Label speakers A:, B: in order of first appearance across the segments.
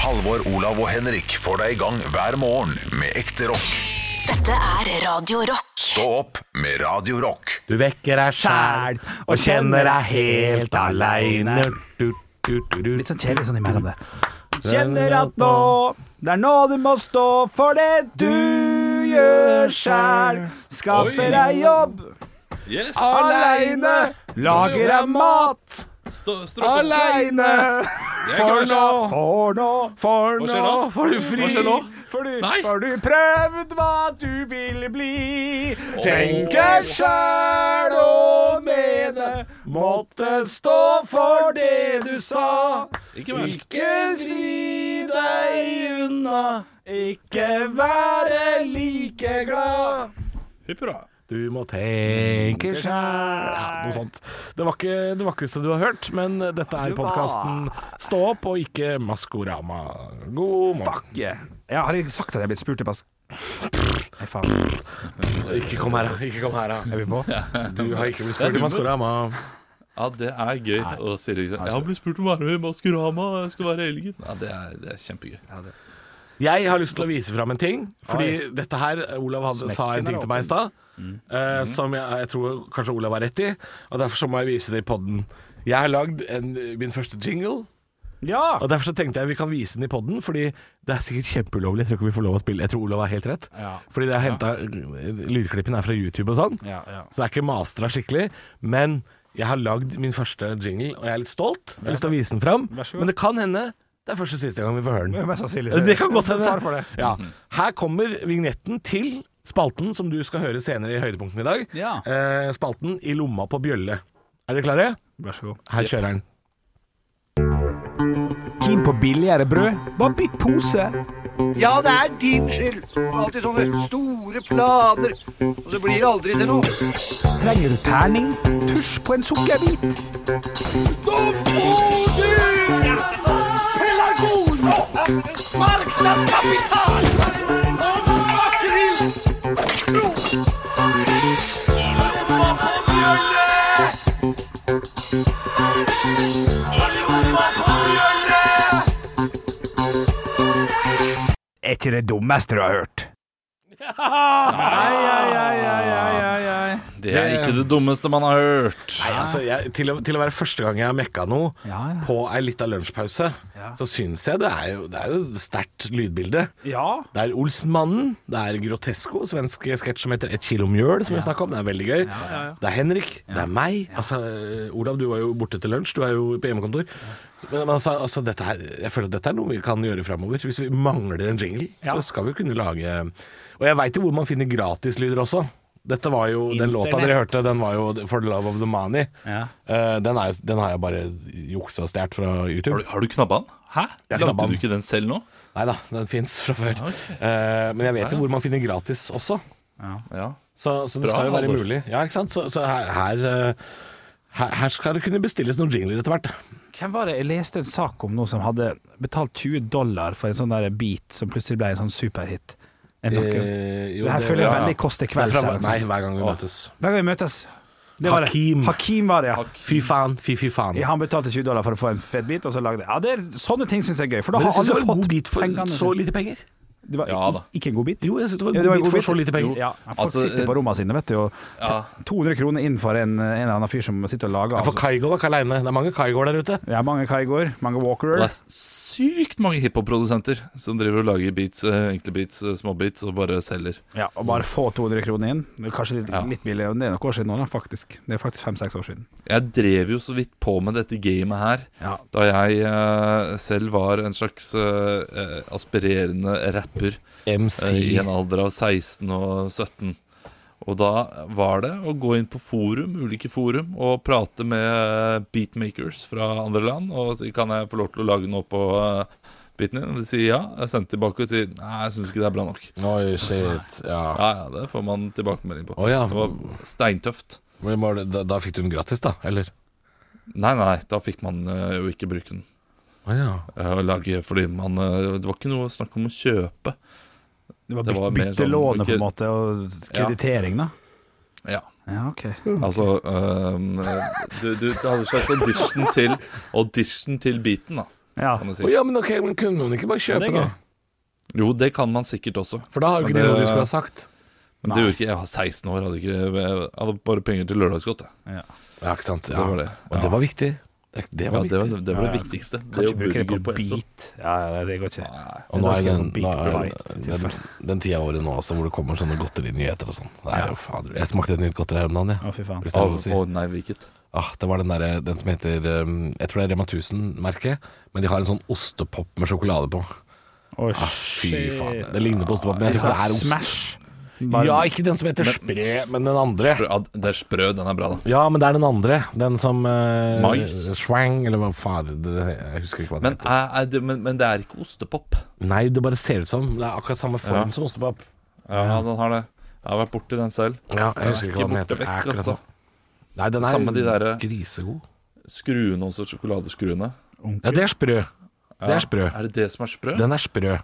A: Halvor, Olav og Henrik får deg i gang hver morgen med ekte rock.
B: Dette er Radio Rock.
A: Stå opp med Radio Rock.
C: Du vekker deg sjæl og kjenner deg helt aleine.
D: Litt sånn kjedelig sånn imellom det. Kjenner at nå Det er nå du må stå for det du gjør sjæl. Skaffer deg jobb
E: Yes!
D: aleine. Lager deg mat
E: Stå- stå-
D: aleine.
E: Jeg er klar.
D: For nå, for
E: Hva
D: nå
E: skjer nå?
D: får du fri.
E: Hva skjer nå?
D: For du,
E: Nei.
D: får du prøvd hva du vil bli. Tenke sjæl og mene. Måtte stå for det du sa.
E: Ikke verst.
D: Ikke si deg unna, ikke være like glad.
E: Hipp hurra.
C: Du må tenke sjæl ja, Noe sånt. Det var ikke det vakreste du har hørt, men dette er podkasten Stå opp og ikke Maskorama. God morgen.
D: Ja, jeg har ikke sagt at jeg er blitt spurt tilpass. Nei, faen.
C: Ikke kom her, da. Ikke kom her, da.
D: Er vi på?
C: Du har ikke blitt spurt i Maskorama.
E: Ja, det er gøy å si det. Jeg har blitt spurt om å være med i Maskorama. og Jeg skal være helgen. Ja, det er, det er kjempegøy.
C: Jeg har lyst til å vise fram en ting. Fordi dette her Olav hadde, sa en ting til meg i stad, eh, som jeg, jeg tror kanskje Olav har rett i. Og derfor så må jeg vise det i poden. Jeg har lagd en, min første jingle.
D: Ja!
C: Og Derfor så tenkte jeg vi kan vise den i poden, fordi det er sikkert kjempeulovlig. Jeg tror ikke vi får lov å spille. Jeg tror Olav har helt rett.
D: Ja.
C: Fordi det er hentet, lydklippen er fra YouTube og sånn,
D: Ja, ja.
C: så det er ikke mastra skikkelig. Men jeg har lagd min første jingle, og jeg er litt stolt. Jeg har lyst til å vise den fram.
D: Vær så god.
C: Men det kan hende det er første og siste gang vi får høre den.
D: Mest sannsynlig.
C: Det kan godt hende.
D: Far for det.
C: Ja. Her kommer vignetten til spalten som du skal høre senere i høydepunktene i dag.
E: Ja.
C: Eh, spalten I lomma på bjølle. Er dere klare?
D: Vær så god.
C: Her kjører den.
D: Keen på billigere brød? Bare bytt pose.
F: Ja, det er din skyld. Alltid sånne store planer, og så blir det aldri til noe.
D: Trenger du terning? Tusj på en sukkerbit. Er ikke det dummeste du har hørt?
E: Det er ikke det dummeste man har hørt.
C: Nei, altså, jeg, til, å, til å være første gang jeg har mekka noe
D: Ja, ja.
C: på ei lita lunsjpause, så syns jeg det er jo, det er jo et sterkt lydbilde.
D: Ja.
C: Det er Olsenmannen, det er Grotesco, svensk sketsj som heter 'Et kilo mjøl', som vi snakka om. Det er veldig gøy. Det er Henrik, det er meg. Altså, Olav, du var jo borte til lunsj, du er jo på hjemmekontor. Men altså, altså dette her, jeg føler at dette er noe vi kan gjøre framover. Hvis vi mangler en jingle, så skal vi jo kunne lage Og jeg veit jo hvor man finner gratislyder også. Dette var jo, Den låta dere hørte, den var jo 'For the love of the money'. Eh, den, er, den har jeg bare juksa og stjålet fra YouTube.
E: Har du, har du knabba den? Hæ?
C: knabba
E: Lagde du
C: den.
E: ikke den selv nå?
C: Nei da, den fins fra før. Eh, men jeg vet jo hvor man finner gratis også.
E: Ja.
C: Så, så det
E: Bra,
C: skal jo være
E: Halvor.
C: mulig. Ja, ikke sant? Så, så her, her, eh, her, her skal det kunne bestilles noen jingler etter hvert.
D: Hvem var det jeg leste en sak om nå som hadde betalt 20 dollar for en sånn der beat som plutselig ble en sånn superhit? En nakke.
C: Eh, jo,
D: Det her
C: det-
D: føler jeg
C: ja, ja.
D: veldig koste
C: Det er
D: kvelds.
C: fra-
D: eller noe
C: Nei,
D: sånt.
C: hver gang vi møtes.
D: Hver gang vi møtes. Det var
C: Hakim.
D: Det. Hakim var det, ja.
C: Fy faen, fy fy faen.
D: Ja, Han betalte 20 dollar for å få en fet bit, og så lagde jeg Ja, det er, sånne ting syns jeg er gøy, for da
C: Men jeg
D: har
C: syns det var
D: alle
C: en
D: fått
C: god bit for
D: pengene
C: så
D: sine.
C: lite penger.
D: Det var
E: Ja, da.
D: ik- ikke en god bit.
C: Jo, jeg syns det var en
D: Ja,
C: god bit
D: god
C: for
D: bit.
C: så lite penger.
D: Ja, folk
E: Altså,
D: sitter på
E: eh,
D: rommene sine, vet du, og
E: Ja.
D: 200 kroner innenfor en, en eller annen fyr som sitter og lager.
C: Ja, for
D: Altså.
C: Kaigo var ikke aleine. Det er mange Kaigoer der ute.
D: Det er mange Kaigor, mange
E: Og
D: Walkerer.
E: det er sykt mange hiphop-produsenter som driver og lager beats, eh, enkle beats, eh, småbeats, og bare selger.
D: Ja, og bare få 200 kroner inn. Det er Kanskje litt,
E: Ja.
D: litt billigere. Det er noen år siden nå, da, faktisk. Det er faktisk fem-seks år siden.
E: Jeg drev jo så vidt på med dette gamet her
D: Ja.
E: da jeg eh, selv var en slags eh, eh, aspirerende rapper eh, i
C: MC.
E: en alder av 16 og 17. Og da var det å gå inn på forum, ulike forum og prate med eh, beatmakers fra andre land og si kan jeg få lov til å lage noe på eh, beaten din. Og de sier ja. Jeg sendte tilbake og sier nei, jeg syns ikke det er bra nok.
C: Oi, shit. Ja.
E: Ja, ja, det får man tilbakemelding på.
C: Å, ja.
E: Det var steintøft.
C: Men var det- Da, da fikk du den gratis, da? Eller?
E: Nei, nei, da fikk man eh, jo ikke bruke den.
C: Å ja.
E: eh, å lage Fordi man eh, Det var ikke noe snakk om å kjøpe.
D: Det var,
E: Det var
D: byt-
E: mer sånn-
D: byttelånet, på
E: ikke-
D: en måte, og kreditering, da.
E: Ja,
D: Ja, OK.
E: altså ehm, eh, du, du, du hadde en slags audition til Audition til beaten, da.
D: Ja.
E: kan du si.
C: Å, ja, men ok, men kunne man ikke bare kjøpe,
G: Det er
C: da?
G: gøy.
E: Jo, det kan man sikkert også.
C: For da har jo ikke
E: Men
C: de noe
E: det-
C: de skulle ha sagt.
E: Men det gjorde ikke jeg. Jeg var 16 år, hadde, ikke, jeg hadde bare penger til lørdagsgodt. jeg.
C: Ja, ikke sant.
E: Det var det.
C: Og det var viktig. Det, det
E: Ja,
C: var
E: det
C: viktig.
E: var det, var det viktigste. Det å
D: Ikke bruke det
E: burger
D: på
E: på Esso.
D: beat. Ja, ja, det går ikke.
C: Og nå
D: Da
C: er
D: skal jeg
C: den,
D: på Big
C: nå er
D: Bite.
C: den, den, den tida av året nå også hvor det kommer sånne godterinyheter og sånn. Nei, jo, fader. Jeg smakte et nytt godteri her om dagen, jeg.
D: Å, fy faen.
C: Hvis det er
E: Av
C: lov å si.
E: å, nei, hvilket?
C: Ah, det var den, derre- den som heter um, Jeg tror det er Rema 1000-merket, men de har en sånn ostepop med sjokolade på.
D: Å,
C: Ah, fy faen. Det ligner på ostepop, men jeg tror det er ost.
D: Smash.
C: Ja, ikke den som heter Spre, men den andre.
E: Sprø, ja, det er sprø, den er bra, da.
C: Ja, men det er den andre. Den som uh,
E: Mais?
C: Schwang, eller hva faen det- Jeg husker ikke hva den
E: Men,
C: heter.
E: er, er det, men, men det er ikke ostepop.
C: Nei, det bare ser ut som. Det er akkurat samme form som ostepop.
E: Ja, den har det. Jeg har vært borti den selv.
C: Ja, jeg
E: Den er
C: husker ikke hva
E: ikke
C: den
E: borte
C: heter.
E: vekk,
C: Akkurat
E: altså.
C: sånn. Nei, den er
E: Samme de eh, derre-
C: grisegod.
E: Skruene også, sjokoladeskruene.
C: Ja, det er sprø. Det er sprø.
E: Er det det som er sprø?
C: Den er sprø.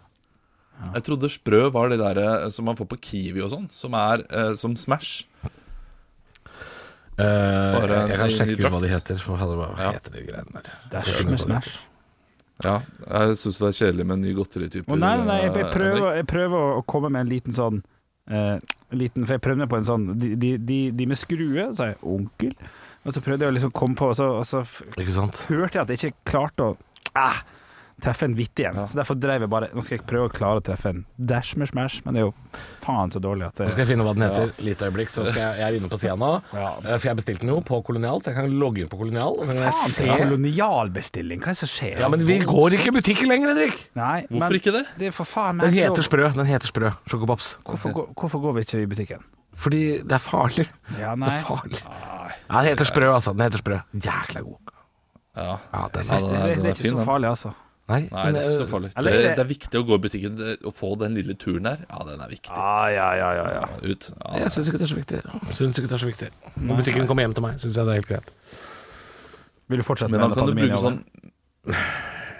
E: Jeg trodde sprø var det der eh, som man får på Kiwi og sånn, som er eh, som Smash.
C: Eh, jeg, jeg kan
E: en
C: sjekke
E: ny
C: ut hva
E: drakt.
C: de heter. For hva hva
E: Ja.
C: heter de greiene der?
D: Det
C: Skal jeg
D: er ikke
C: finne
D: med
C: på det.
D: Smash.
E: Ja, jeg syns det er kjedelig med en ny godteritype.
D: Å, nei, nei, jeg, jeg,
E: eh,
D: prøver,
E: Henrik.
D: jeg prøver å komme med en liten sånn eh, liten, For jeg prøvde meg på en sånn De, de, de, de med skrue, sa jeg 'onkel', og så prøvde jeg å liksom komme på, og så, og så f-
C: Ikke sant?
D: hørte jeg at jeg ikke klarte å ah, treffe en vittig en.
E: Ja.
D: Så derfor drev jeg bare Nå skal jeg prøve å klare å treffe en dash med smash, men det er jo faen så dårlig at
C: Nå skal
D: det
C: jeg finne hva den heter. Litt øyeblikk, så skal jeg, jeg er inne på sida nå. Eh, For jeg bestilte den jo på Kolonial, så jeg kan logge inn på Kolonial. Og så kan
D: Faen,
C: jeg
D: det
C: se
D: er kolonialbestilling. Hva er det som skjer?
C: Ja, men vi går ikke i butikken lenger, Henrik!
D: Nei,
E: Hvorfor
D: men
E: ikke det?
D: Det er for faen meg
C: Den
D: ikke
C: heter
D: lov.
C: sprø. Den heter sprø. Sjokopops.
D: Hvorfor, går- hvorfor går vi ikke i butikken?
C: Fordi det er farlig.
D: Ja,
C: Det
D: nei.
C: er farlig. Ja, den heter sprø, altså. Den heter sprø. Jækla god.
E: Ja.
C: Ja, den
E: Ja,
C: er
D: Det, det,
E: den er, den
D: det er
E: er
D: ikke
E: fin,
D: så
E: den.
D: farlig, altså.
C: Nei, eh,
E: Nei, det er ikke så farlig.
D: Eller
E: Det,
D: er det-
E: det er viktig å gå i butikken det- og få den lille turen der. Ja, den er viktig.
D: Ah, ja, ja, ja, ja.
E: Ut. Ja,
C: Jeg syns ikke det er så viktig. Synes ikke det er så viktig. Når butikken kommer hjem til meg, syns jeg det er helt greit.
D: Vil du fortsette
E: men da
D: med
E: kan du
D: pandemien
E: bruke
D: over?
E: sånn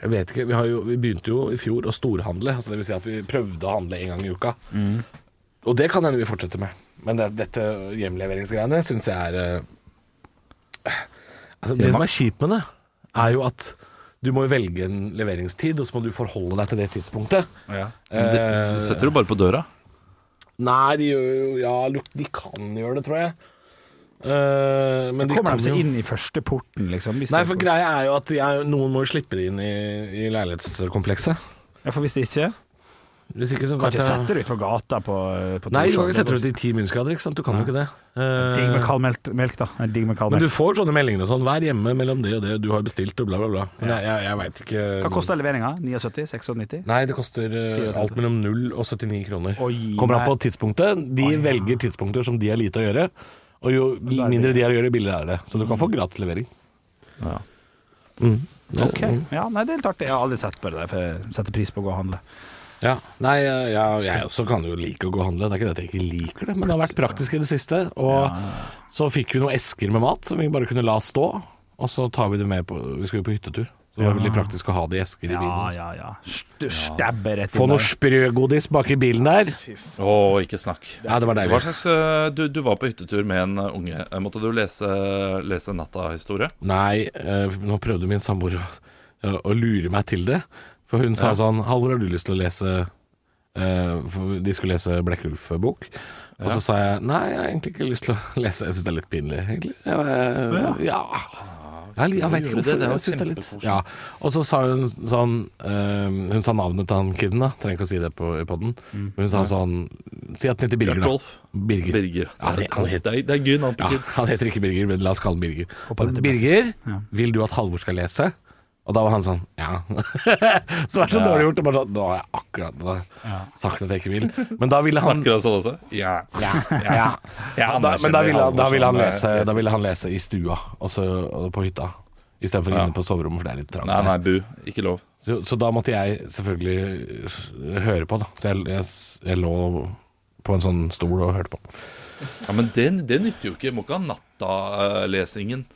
C: Jeg vet ikke, vi, har jo, vi begynte jo i fjor å storhandle, altså det vil si at vi prøvde å handle en gang i uka. Og det kan hende vi fortsetter med. Men det, dette hjemleveringsgreiene syns jeg er eh, altså Det som er kjipt med det, er jo at du må jo velge en leveringstid, og så må du forholde deg til det tidspunktet. Eh,
D: Ja.
E: Men Det, det setter du bare på døra.
C: Nei, de gjør jo Ja, luk- de kan gjøre det, tror jeg. Eh, men de
D: Kommer
C: kan
D: de seg
C: jo-
D: inn i første porten, liksom? Hvis
C: Nei,
D: de-
C: for greia er jo at jeg, noen må jo slippe det inn i, i leilighetskomplekset.
D: ja, for hvis de ikke
C: Hvis ikke så vet
D: Kan ikke
C: jeg-
D: sette det ut på gata på, på
C: Nei, du kan
D: Torshov.
C: ikke sette det ut i ti minusgrader, ikke sant? Du kan jo ikke det.
D: Digg med
C: Eh,
D: kald melk, melk da. Nei, Digg med kald
C: men du
D: melk.
C: får sånne meldinger og sånn. Vær hjemme mellom det og det du har bestilt, og bla, bla, bla. Men jeg, jeg, jeg veit ikke
D: Hva koster leveringa? 79? 96?
C: Nei, det koster eh, alt mellom 0 og 79 kroner.
D: Oi,
C: Kommer an
D: nei.
C: på tidspunktet. De velger tidspunkter som de har lite å gjøre. Og jo mindre de har å gjøre, billigere er det. Så du kan få gratis levering.
D: Ok.
C: Mm.
D: Ja, nei, det er litt artig. Jeg har aldri sett på det der, for jeg setter pris på å gå og handle.
C: Ja. Nei, jeg, jeg, jeg også kan jo like å gå og handle. Det er ikke det at jeg ikke liker det, men det har vært praktisk i det siste. Og så fikk vi noen esker med mat som vi bare kunne la stå, og så tar vi det med på Vi skal jo på hyttetur. Så det var veldig praktisk å ha det i esker i
D: Ja,
C: bilen.
D: ja, ja. Du stabber rett
C: Få
D: inn
C: noe
D: der.
C: sprøgodis bak i bilen der.
E: Å, ikke snakk.
C: Ja, det var
E: Hva
C: deilig.
E: slags eh, du, du var på hyttetur med en eh, unge. Eh, Måtte du lese, lese natta-historie?
C: Nei, eh, nå prøvde min samboer å, å lure meg til det. For hun sa sånn Halvor, har du lyst til å lese eh, for De skulle lese Blekkulf-bok. Og så sa jeg nei, jeg har egentlig ikke lyst til å lese. Jeg syns det er litt pinlig, egentlig. Jeg, eh, ja. Jeg, jeg vet ikke
E: Ah, gjorde det,
C: hvorfor.
E: det var
C: jeg synes det er litt
E: kjempekoselig.
C: ja. Og så sa hun sånn eh, Hun sa navnet til han kiden, da. Trenger ikke å si det på podden.
E: Mm.
C: Men hun sa sånn Si at den heter Birger, da.
E: Rolf?
C: Birger.
E: Birger.
C: Ja, det- han
E: det, er, det er gøy navn på
C: Ja,
E: kid.
C: han heter ikke Birger, men la oss kalle han Birger. Birger, vil du at Halvor skal lese? Og da var han sånn ja. så det var så dårlig gjort. Og bare sånn, nå har jeg akkurat da, sagt at jeg ikke vil. Men da ville han
E: Snakker han sånn også? Ja.
C: ja, ja.
E: Ja,
C: da, men da ville, han- da, ville han
E: Halvor som,
C: lese,
E: eh,
C: da ville han lese i stua, og så og på hytta. Istedenfor
E: Ja.
C: inne på soverommet, for det er litt trangt.
E: Nei,
C: der.
E: nei, bu. Ikke lov.
C: Så, så da måtte jeg selvfølgelig eh, høre på, da. Så jeg, jeg, jeg lå på en sånn stol og hørte på.
E: Ja, Men det, det nytter jo ikke. Må ikke ha nattalesingen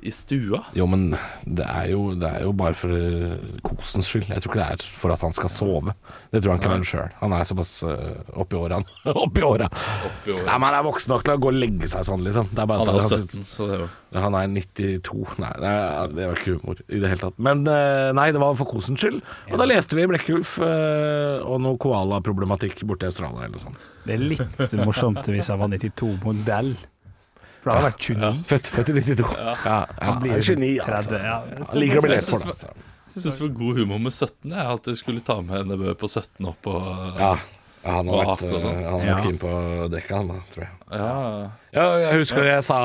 E: I stua?
C: Jo, men det er jo, det er jo bare for eh, kosens skyld. Jeg tror ikke det er for at han skal sove. Det tror han ikke han sjøl. Han er såpass eh, oppi åra, han. oppi åra!
E: Oppi året.
C: Nei, men han er voksen nok til å gå og legge seg sånn, liksom. Det er bare at
E: Han er jo
C: han-
E: 17, så det er jo
C: Han er 92. Nei, det, er- det var ikke humor i det hele tatt. Men eh, nei, det var for kosens skyld. Og da leste vi Blekkulf eh, og noe koalaproblematikk borte i Australia eller sånn.
D: Det er litt morsomt hvis han var 92-modell. For han har vært 29.
C: Født, født i 92. Ja, ja,
D: Han blir
C: er 29,
D: 30,
C: altså.
D: ja.
C: Han liker å bli lett
E: Jeg
C: for, altså.
E: synes-
C: da.
E: Syns det var god humor med 17, jeg. At dere skulle ta med NBØ på 17 opp og
C: Ja. Ja, han har vært
E: Bak og
C: eh,
E: sånn.
C: han
D: Ja.
C: var keen på dekka, han da, tror jeg.
E: Ja.
C: Ja, jeg husker jeg sa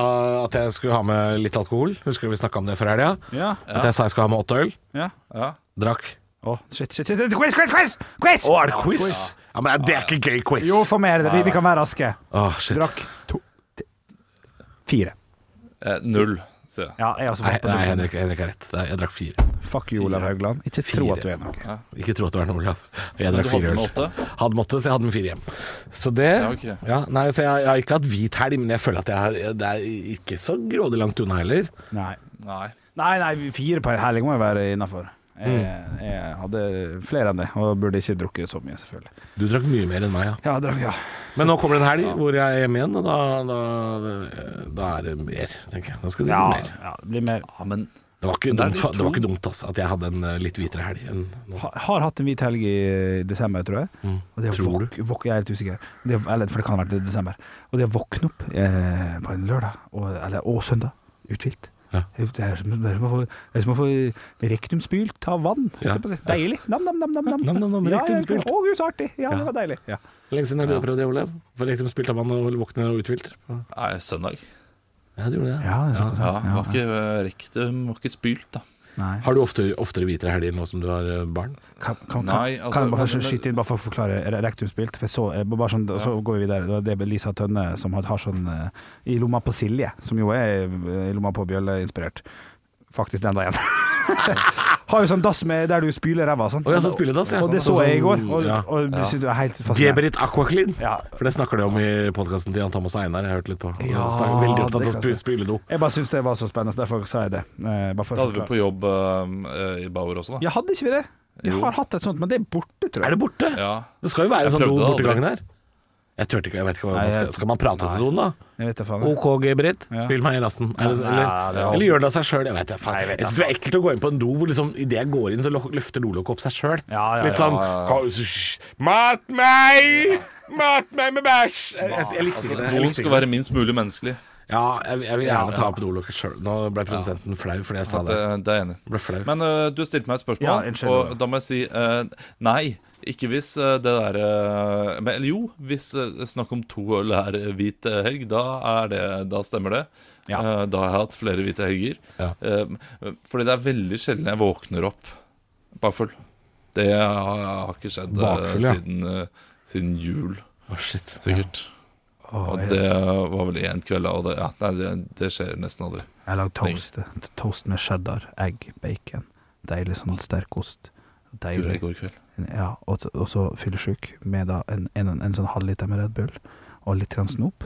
C: at jeg skulle ha med litt alkohol. Husker vi snakka om det før helga?
D: Ja,
C: At jeg sa jeg skulle ha med åtte øl.
D: ja.
E: ja.
C: Drakk.
D: Å, shit, shit, shit. Quiz, quiz, quiz! quiz!
C: Å, er det quiz? Ja, men det er ikke gøy quiz.
D: Jo, for mer. Vi, vi kan være raske.
C: Å, shit.
D: Drakk to tre- Fire.
E: Eh, Null, sier jeg.
D: Ja, jeg er også
C: Nei,
D: vant på
C: nei
D: det.
C: Henrik, Henrik har rett. Det er- Jeg drakk fire.
D: Fuck you, Olav Haugland. Ikke tro
C: Fire.
D: at du er noe.
C: Ikke tro at det var noe, Olav. Og Jeg
E: Men
C: drakk
E: du
C: fire
E: hadde
C: øl.
E: med åtte?
C: Hadde måttet, så jeg hadde med fire hjem. Så det
E: Ja, ok.
C: ja, Nei, så jeg, jeg har ikke hatt hvit helg, men jeg føler at jeg har jeg- Det er ikke så grådig langt unna heller.
D: Nei.
E: Nei.
D: nei, nei, fire per helg må jo være innafor. Jeg,
C: Mm.
D: jeg hadde flere enn det, og burde ikke drukket så mye, selvfølgelig.
C: Du drakk mye mer enn meg, ja.
D: Ja, drakk, ja.
C: Men nå kommer det en helg hvor jeg er hjemme igjen, og da, da, da er det mer, tenker jeg. Da skal det
D: Ja,
C: bli mer.
D: ja, det blir mer.
E: Ja, men
C: Det var ikke
E: Men det er
C: dumt,
E: de
C: fa- det var
E: to-
C: ikke dumt altså, at jeg hadde en eh, litt hvitere helg enn nå.
D: Ha, har hatt en hvit helg i desember, tror jeg. Og det å
C: Mm. Tror du?
D: våk- våk- jeg er litt usikker. Det, eller, for det kan ha vært i desember. Og det å våkne opp eh, på en lørdag, og, eller, og søndag, uthvilt
C: Ja.
D: Det er som det er som å få- det er som å få rektumspylt av vann. holdt
C: Ja.
D: jeg på å si. Deilig. Nam, nam, nam. nam, nam.
C: Nam, nam, nam,
D: ja, ja,
C: rektumspylt.
D: Å, gud, så artig. Ja,
C: Ja.
D: det var deilig. Ja.
C: Lenge siden har du prøvd det, Olav? For lekte med spilt av vann og våkne og uthvilt?
E: nei, søndag.
C: Ja, du gjorde det.
D: Ja, det er sant.
E: Ja, var ikke eh, rektum, var ikke spylt, da.
D: Nei.
C: Har du ofte, oftere hvitere helger nå som du har eh, barn?
D: Kan, kan, kan,
E: Nei, altså,
D: kan jeg bare
E: men-
D: først skyte inn bare for å forklare re- rektumspilt? For jeg så, eh, bare sånn, og så går vi videre. Det var det Lisa Tønne som har, har sånn eh, i lomma på Silje, som jo er eh, i lomma på Bjølle-inspirert. Faktisk den dagen. har jo sånn dass med der du spyler ræva og sånn.
C: Å, ja, sånn spyledass, ja.
D: Og det så
C: Sånn-
D: jeg i går, og,
C: ja.
D: og, det synes jeg er helt fascinerende.
C: Altså, Geberit Aquaclean.
D: Ja.
C: For det snakker de om i podkasten til Jan Thomas og Einar. Jeg har hørt litt på.
D: Ja,
C: De snakker veldig opptatt
D: det
C: av
D: kan
C: spy-
D: jeg
C: spyledo.
D: Jeg bare syns det var så spennende, så derfor sa jeg det. Eh, bare for
E: Da
D: å
E: hadde vi
D: forklare.
E: på jobb eh, i Bauer også, da.
D: Ja, hadde ikke vi det? Jeg har hatt et sånt, men det er borte, tror jeg.
C: Er det borte?
E: Ja.
C: Det skal jo være en
E: Jeg
C: sånn do
E: prøvde det
C: borti
E: aldri.
C: gangen her. Jeg turte ikke, jeg vet ikke hva
D: Nei,
C: man skal
D: jeg-
C: Skal man prate til doen, da?
D: Jeg vet det faen.
C: OK, Geberit,
D: Ja.
C: spill meg i rassen. Er det,
D: Ja,
C: eller,
D: ja, det er-
C: eller gjør det av seg sjøl, jeg vet det.
D: Nei,
C: Faen.
D: jeg vet
C: Jeg
D: det.
C: syns det er ekkelt å gå inn på en do hvor liksom idet jeg går inn, så lo- løfter dolokket opp seg sjøl.
D: Ja, ja,
C: Litt
D: ja,
C: sånn «Kom, Mat meg! Mat meg med bæsj! Jeg, jeg, jeg likte
E: Altså,
C: ikke det. Jeg
E: Doen
C: likte
E: skal
C: ikke det.
E: være minst mulig menneskelig.
C: Ja, jeg, jeg vil gjerne ta opp dolokket sjøl. Nå ble produsenten flau fordi jeg sa
E: Det,
D: eh,
C: det.
E: Eh, det er jeg enig i.
C: Ble flau.
E: Men øh, du stilte meg et spørsmål,
D: Ja, unnskyld.
E: og da må jeg si øh, nei. Ikke hvis øh, det der øh, men- Eller jo, hvis øh, snakk om to øl er hvit øh, helg, da, er det, da stemmer det.
D: Ja.
E: Eh, da har jeg hatt flere hvite helger.
C: Ja.
E: Eh, fordi det er veldig sjelden jeg våkner opp bakfull. Det har, har ikke skjedd eh,
C: Bakfull, ja.
E: siden, eh, siden jul,
C: Å, shit.
E: sikkert. og det var vel én kveld, og det, ja, nei, det, det skjer nesten aldri.
D: Jeg lagde toast. Toast med cheddar, egg, bacon. Deilig sånn sterk ost.
E: Turer i
D: Deilig.
E: går kveld.
D: Ja, og så- og så fyllesjuk med da en, en, en sånn halvliter med Red Bull og litt grann snop.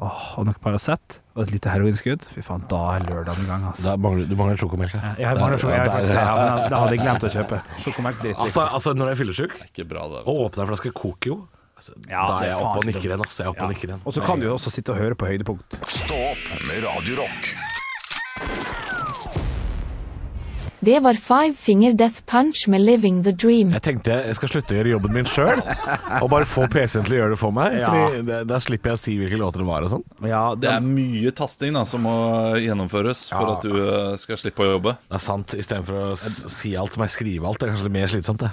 D: Åh, og noe Paracet og et lite heroinskudd. Fy faen, da er lørdagen i gang, altså.
C: Da mangler, du mangler sjokomelk her.
D: Jeg
C: Der-
D: mangler
C: ja,
D: sjokomelk,
C: der-
D: faktisk. Ja, men det hadde jeg glemt å kjøpe. Sjokomelk dritt.
C: Altså, altså, når jeg er fyllesyk
E: Det er ikke bra, det. vet du.
C: og åpner en flaske Kokio, altså,
D: Ja,
C: da
D: det
C: er
D: er
C: jeg oppe og
D: faen ikke
C: nikker igjen. ass. Jeg er oppe og nikker
D: Ja.
C: igjen.
D: Og så kan du jo også sitte og høre på høydepunkt.
A: Stå opp med Radio Rock.
G: Det var Five Finger Death Punch med Living the Dream.
C: Jeg tenkte jeg skal slutte å gjøre jobben min sjøl, og bare få PC-en til å gjøre det for meg.
D: Ja.
C: Fordi det- Da slipper jeg å si hvilke låter det var og sånn.
D: Ja,
E: Det er mye tasting da, som må gjennomføres for at du eh, skal slippe å jobbe.
C: Det er sant, istedenfor å s- si alt som jeg skriver alt. Det er kanskje litt mer slitsomt, det.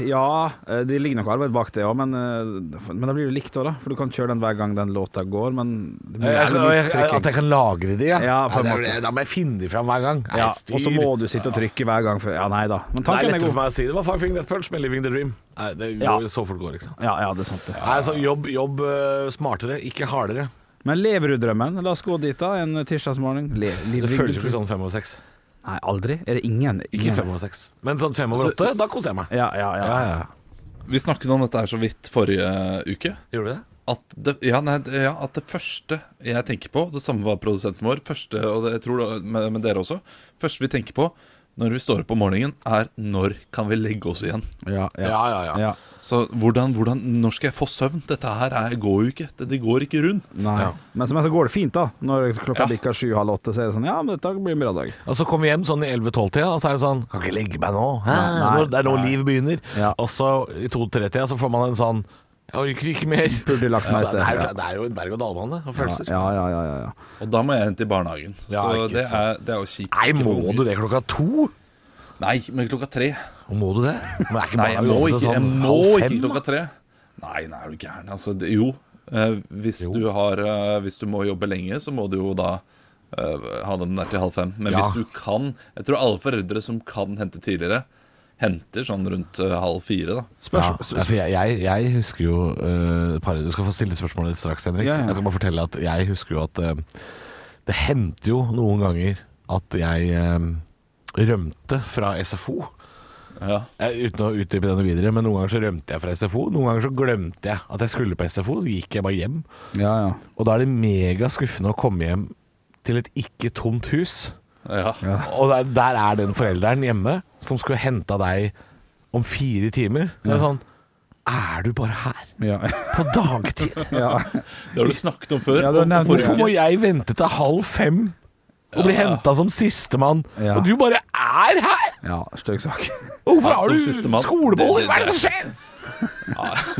D: Ja, eh, det ligger noe arbeid bak det òg, men, eh, men da blir det likt òg, da. For du kan kjøre den hver gang den låta går, men det blir
C: Eh, altså, Jeg,
D: jævlig mye
C: at
D: trykking.
C: jeg kan lagre de, ja.
D: Ja, på en
C: det er-
D: måte.
C: Da må jeg finne de fram hver gang. Nei,
D: Ja,
C: styr.
D: og så må du sitte og trykke hver gang. For, ja, nei da. Men
C: det er
D: tanken er
C: lettere for
D: god.
C: meg å si det var Five Finger Death Punch med Living the Dream. Nei, det går,
D: Ja.
C: Så fort går det, ikke sant.
D: Ja, ja, det er sant det.
C: Nei, altså, jobb, jobb eh, smartere, ikke hardere.
D: Men lever du drømmen? La oss gå dit da, en tirsdagsmorgen. Le
C: Det
D: living
C: føles
D: the
C: jo ikke
D: dream.
C: sånn fem over seks.
D: Nei, aldri. Er det ingen?
C: Ikke
D: ingen.
C: fem over seks. Men sånn fem over åtte, da koser jeg meg.
D: Ja, ja, ja.
C: Ja, ja.
E: Vi snakket om dette her så vidt forrige uke.
C: Gjorde du det?
E: at det, ja, nei, det- ja, at det første jeg tenker på Det samme var produsenten vår, første, og det, jeg tror det, med, med dere også. første vi tenker på når vi står opp om morgenen, er når kan vi legge oss igjen?
D: Ja,
C: Ja, ja, ja.
D: ja.
E: Så hvordan, hvordan, Når skal jeg få søvn? Dette her er, går jo ikke. Det, det går ikke rundt.
D: Nei.
C: Ja.
D: Men så, men så går det fint, da. Når klokka
E: Ja.
D: bikker sju-halv åtte, så er det sånn Ja, men dette blir en bra dag.
C: Og så kommer vi hjem sånn i 11-12-tida, og så er det sånn Kan ikke legge meg nå. Hæ?
D: Nei,
C: Nå- det er nå
D: nei.
C: livet begynner.
D: Ja.
C: Og så i 2-3-tida så får man en sånn Jeg orker ikke mer.
D: Burde lagt meg i
C: Altså, det, er, jo-
D: sted, ja.
C: det er jo en berg-og-dal-bane av
D: Ja,
C: følelser.
D: ja, ja. ja, ja, ja.
E: Og da må jeg hente i barnehagen.
C: Ja,
E: så
C: ikke
E: det
C: sant.
E: er, det er jo kjipt.
C: Nei,
E: Ikke for
C: må
E: unger.
C: du det klokka to?
E: Nei, men klokka tre.
C: Må du det? Men er ikke
E: Nei, jeg
C: barna
E: må
C: åpne
E: ikke, jeg
C: sånn
E: må
C: halv
E: ikke
C: fem, da?
E: klokka tre. Nei, nei, er du gæren. Altså, det, jo. Eh, hvis, Du har, eh, hvis du må jobbe lenge, så må du jo da eh, ha dem der til halv fem. Men
C: Ja.
E: hvis du kan Jeg tror alle foreldre som kan hente tidligere, henter sånn rundt eh, halv fire, da.
C: Ja,
D: Spørs,
C: ja, for jeg, jeg, jeg husker jo eh, par, Du skal få stille spørsmålet ditt straks, Henrik.
D: Ja, ja.
C: Jeg skal bare fortelle at jeg husker jo at eh, det hendte jo noen ganger at jeg eh, rømte fra SFO.
E: Ja.
C: Eh, uten å utdype denne videre, men noen ganger så rømte jeg fra SFO. Noen ganger så glemte jeg at jeg skulle på SFO, så gikk jeg bare hjem.
D: ja, ja.
C: Og da er det megaskuffende å komme hjem til et ikke tomt hus.
E: Ja.
C: Og der, der er den forelderen hjemme som skulle henta deg om fire timer. Så er det sånn Er du bare her?
D: ja.
C: På dagtid?
D: ja.
E: Det har du snakket om før.
D: Ja, det var nevnt.
E: forrige
C: Hvorfor må
E: uke.
C: jeg vente til halv fem og bli henta som sistemann?
D: Ja.
C: Og du bare er her?!
D: ja Stygg sak.
C: Og Hvorfor
E: Ja,
C: har
E: som
C: du
E: sistemann.
C: skoleboller?
E: Det- det-
C: Hva er det som skjer?!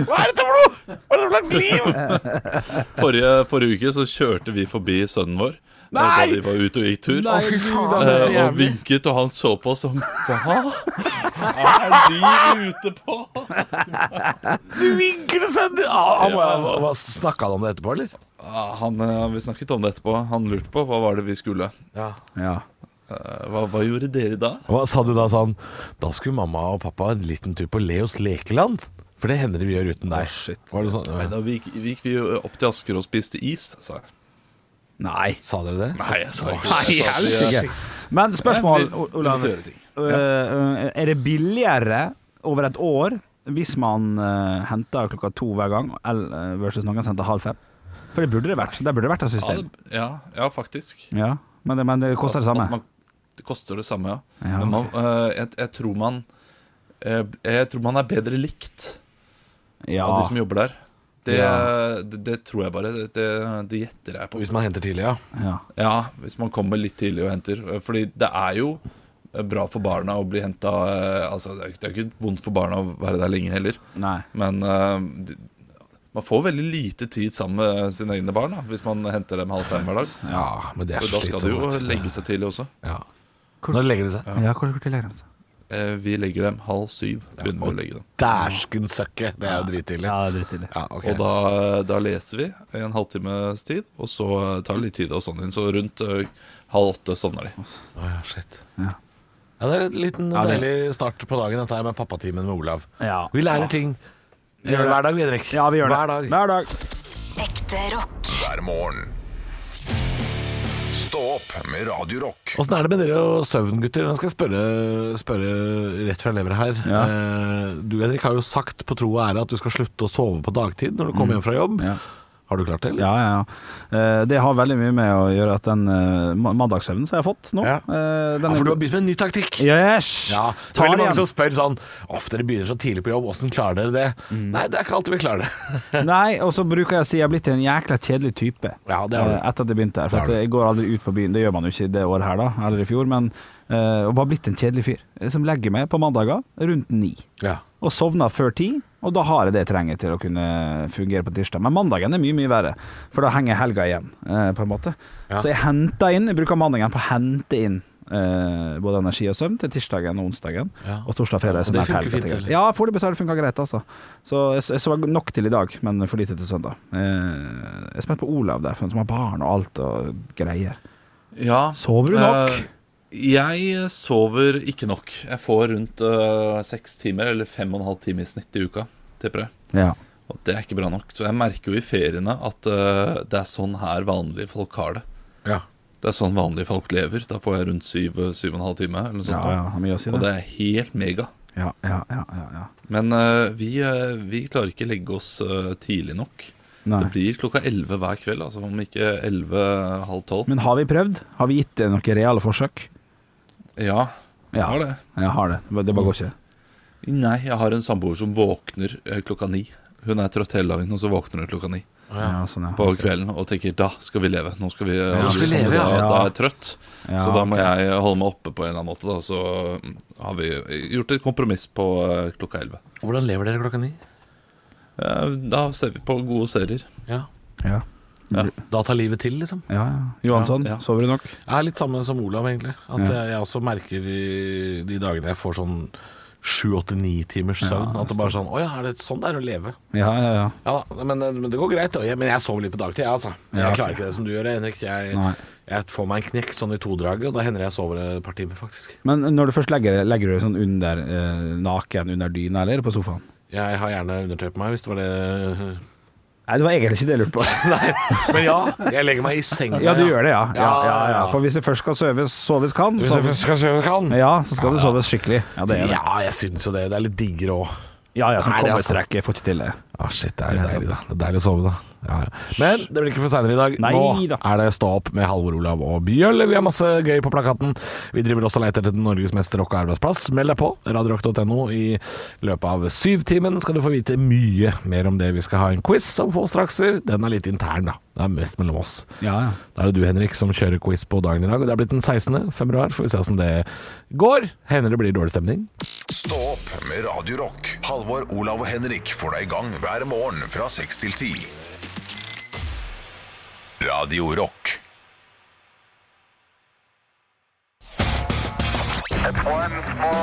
C: Hva er dette for noe?! Hva er det slags liv?!
E: Forrige, forrige uke så kjørte vi forbi sønnen vår eh,
C: Nei!
E: da vi var ute og gikk tur.
C: Å, fy faen, det er så
E: Eh, og
C: jævlig.
E: vinket, og han så på oss som Hva er de ute på?
C: Du vinker det sånn! Ah, han,
E: Ja.
C: hva- hva- Snakka han om det etterpå, eller?
E: Ah, Han, eh, vi snakket om det etterpå. Han lurte på hva var det vi skulle.
D: Ja.
E: Eh, Hva, hva gjorde dere da?
C: Hva sa du da sånn Da skulle mamma og pappa en liten tur på Leos lekeland. For det hender det vi gjør uten deg. Var det sånn,
E: Nei, da vi gikk, vi gikk vi jo opp til Asker og spiste is, sa jeg.
D: Nei.
C: Sa dere det?
E: Nei, jeg sa ikke
D: Nei,
E: sa at vi, eh,
D: helsike. Men spørsmål,
E: Nei, vi- vi
D: Olav.
E: måtte gjøre ting.
D: Øh, øh, Er det billigere over et år hvis man øh, henter klokka to hver gang, el- øh, versus noen som henter halv fem? For det burde det vært. Der burde det vært et
E: Ja,
D: system.
E: det- ja, ja, faktisk.
D: Ja, men det, men det koster det
E: At
D: samme.
E: man, det koster det samme, ja.
D: Ja,
E: Men man, eh, jeg, jeg tror man eh, Jeg tror man er bedre likt
D: Ja.
E: av de som jobber der. Det,
D: Ja.
E: det, det tror jeg bare. Det, det, det gjetter jeg på.
C: Hvis man henter tidlig, ja.
D: ja.
E: Ja, hvis man kommer litt tidlig og henter. Eh, Fordi det er jo eh, bra for barna å bli henta altså, Det er det er ikke vondt for barna å være der lenge heller,
D: Nei.
E: men eh, de- man får veldig lite tid sammen med eh, sine egne barn da, hvis man henter dem halv fem hver dag.
C: Ja, men det er
E: Og
C: så
E: da skal det jo
C: vet du.
E: legge seg tidlig også.
C: Ja. Når legger det seg?
D: Ja, hvor, hvor tillegger de seg?
E: Eh, Vi legger dem halv syv. begynner vi å legge dem.
C: Dæsken søkke! Det er jo drittidlig.
D: Ja, det er drittidlig.
C: Ja, ok.
E: Og da, eh, da leser vi i en halvtimes tid, og så eh, tar det litt tid å sovne inn. Så rundt eh, halv åtte sovner de.
C: Å, ja, shit.
D: Ja.
C: Ja, det er en liten
D: Ja, det-
C: deilig start på dagen, dette her med pappatimen med Olav.
D: Ja.
C: Vi lærer ting Vi gjør det hver dag, vi, Henrik.
D: Ja, vi gjør det.
C: Hver dag.
D: Hver dag.
B: Ekte rock.
A: hver morgen. Stå opp med Radio Rock.
C: Åssen er det med dere og søvn, gutter? Nå skal jeg spørre, spørre rett fra levra her.
D: Ja.
C: Eh, Du, Henrik, har jo sagt på tro og ære at du skal slutte å sove på dagtid når du kommer hjem fra jobb.
D: Ja.
C: Har du klart det? eller?
D: Ja, ja, ja. Eh, Det har veldig mye med å gjøre at den eh, ma- mandagssøvnen som jeg har fått nå
C: Ja.
D: eh, den
C: Ja, for
D: er-
C: du har begynt med en ny taktikk.
D: Yes!
C: Ja, det er
D: Tar
C: veldig mange
D: igjen.
C: som spør sånn Ofte dere begynner så tidlig på jobb, åssen klarer dere det? Nei, det er ikke alltid vi klarer det.
D: Nei, og så bruker jeg å si jeg har blitt en jækla kjedelig type
C: Ja, det har du.
D: eh, etter at jeg begynte
C: Det har
D: her. For at
C: du.
D: jeg går aldri ut på byen, det gjør man jo ikke det året her, da, eller i fjor, men eh, og bare blitt en kjedelig fyr eh, som legger meg på mandager rundt ni.
C: Ja.
D: Og sovner før ti, og da har jeg det jeg trenger til å kunne fungere på tirsdag. Men mandagen er mye, mye verre, for da henger helga igjen, eh, på en måte.
C: Ja.
D: Så jeg henter inn, jeg bruker mandagen på å hente inn eh, både energi og søvn til tirsdagen og onsdagen.
C: Ja.
D: Og torsdag og fredag er så
C: Og det
D: nært
C: funker
D: helga.
C: fint,
D: tenker jeg.
C: eller?
D: Ja, foreløpig så har det funka greit, altså. Så jeg, jeg så nok til i dag, men for lite til søndag. Eh, jeg er spent på Olav der, for han som har barn og alt og greier.
E: Ja.
D: Sover du nok?
E: Eh, jeg sover ikke nok. Jeg får rundt eh, seks timer, eller fem og en halv time i snitt i uka, tipper jeg.
D: Ja.
E: Og det er ikke bra nok. Så jeg merker jo i feriene at eh, det er sånn her vanlige folk har det.
C: ja.
E: Det er sånn vanlige folk lever. Da får jeg rundt syv, syv og en halv time, eller noe
D: Ja,
E: sånt.
D: ja, har mye å si,
E: Og
D: det.
E: det er helt mega.
D: Ja, ja, ja, ja, ja.
E: Men eh, vi, eh, vi klarer ikke legge oss eh, tidlig nok.
D: Nei.
E: Det blir klokka 11 hver kveld, altså om ikke 11, halv 12.
D: Men har vi prøvd? Har vi gitt det noen reale forsøk?
E: Ja,
D: Ja.
E: har det.
D: Jeg har det. Det bare går ikke.
E: Nei, jeg har en samboer som våkner eh, klokka ni. Hun er trøtt hele dagen, og så våkner hun klokka ni
D: Ja, sånn, ja.
E: på kvelden og tenker 'da skal vi leve'. Nå skal vi,
C: nå skal vi leve,
E: da,
C: Ah, ja.
E: da er jeg trøtt,
D: Ja,
E: så da må jeg holde meg oppe på en eller annen måte. Da. Så mm, har vi gjort et kompromiss på eh, klokka 11.
C: Hvordan lever dere klokka ni?
E: Eh, Da ser vi på gode serier.
C: Ja.
D: Ja.
C: Da tar livet til, liksom.
D: Ja, ja. Johansson,
E: Ja, ja.
D: sover du nok?
C: Jeg er litt samme som Olav, egentlig. At
D: Ja.
C: jeg, jeg også merker i de dagene jeg får sånn sju, åtte, ni timers søvn. at det bare er sånn Å ja, er det sånn det er å leve?
D: Ja, ja, ja.
C: Ja da, men, eh, men det går greit. og jeg- Men jeg sover litt på dagtid, jeg, altså. Jeg
D: Ja, ok.
C: klarer ikke det som du gjør, Henrik. Jeg,
D: Nei.
C: jeg får meg en knekk sånn i todraget, og da hender jeg sover et par timer, faktisk.
D: Men når du først legger, legger du deg sånn under eh, naken under dyna eller på sofaen?
C: Jeg har gjerne undertøy på meg, hvis det var det
D: Nei, det var egentlig ikke det jeg lurte på.
C: Nei, men ja. Jeg legger meg i senga.
D: Ja, du gjør det, ja.
C: Ja,
D: Ja, ja, ja.
C: ja.
D: For hvis det først skal soves, soves kan,
C: Hvis
D: så,
C: jeg skal sove, kan.
D: ja, så skal det soves skikkelig. Ja, det er det.
C: Ja, jeg syns jo det. Det er litt diggere òg.
D: Ja, ja, som
C: Nei, det er sant.
D: kobbertrekk. Jeg får ikke til Ah, det.
C: Ja, shit, det er jo deilig, da. Det er deilig å sove, da. Ja, ja. Men det blir ikke for seinere i dag.
D: Nei
C: Nå
D: da.
C: er det Stå opp med Halvor Olav og Bjølle. Vi har masse gøy på plakaten. Vi driver også og leter etter Norges meste rock- og arbeidsplass. Meld deg på radiorock.no. I løpet av syvtimen skal du få vite mye mer om det. Vi skal ha en quiz om få strakser. Den er litt intern, da. Det er mest mellom oss.
D: Ja, ja.
C: Da er det du, Henrik, som kjører quiz på dagen i dag. Og det er blitt den 16. februar. Får vi se åssen det går. Hender det blir dårlig stemning.
A: Stå opp med Radio Rock. Halvor, Olav og Henrik får deg i gang hver morgen fra 6 til 10. Radio Rock.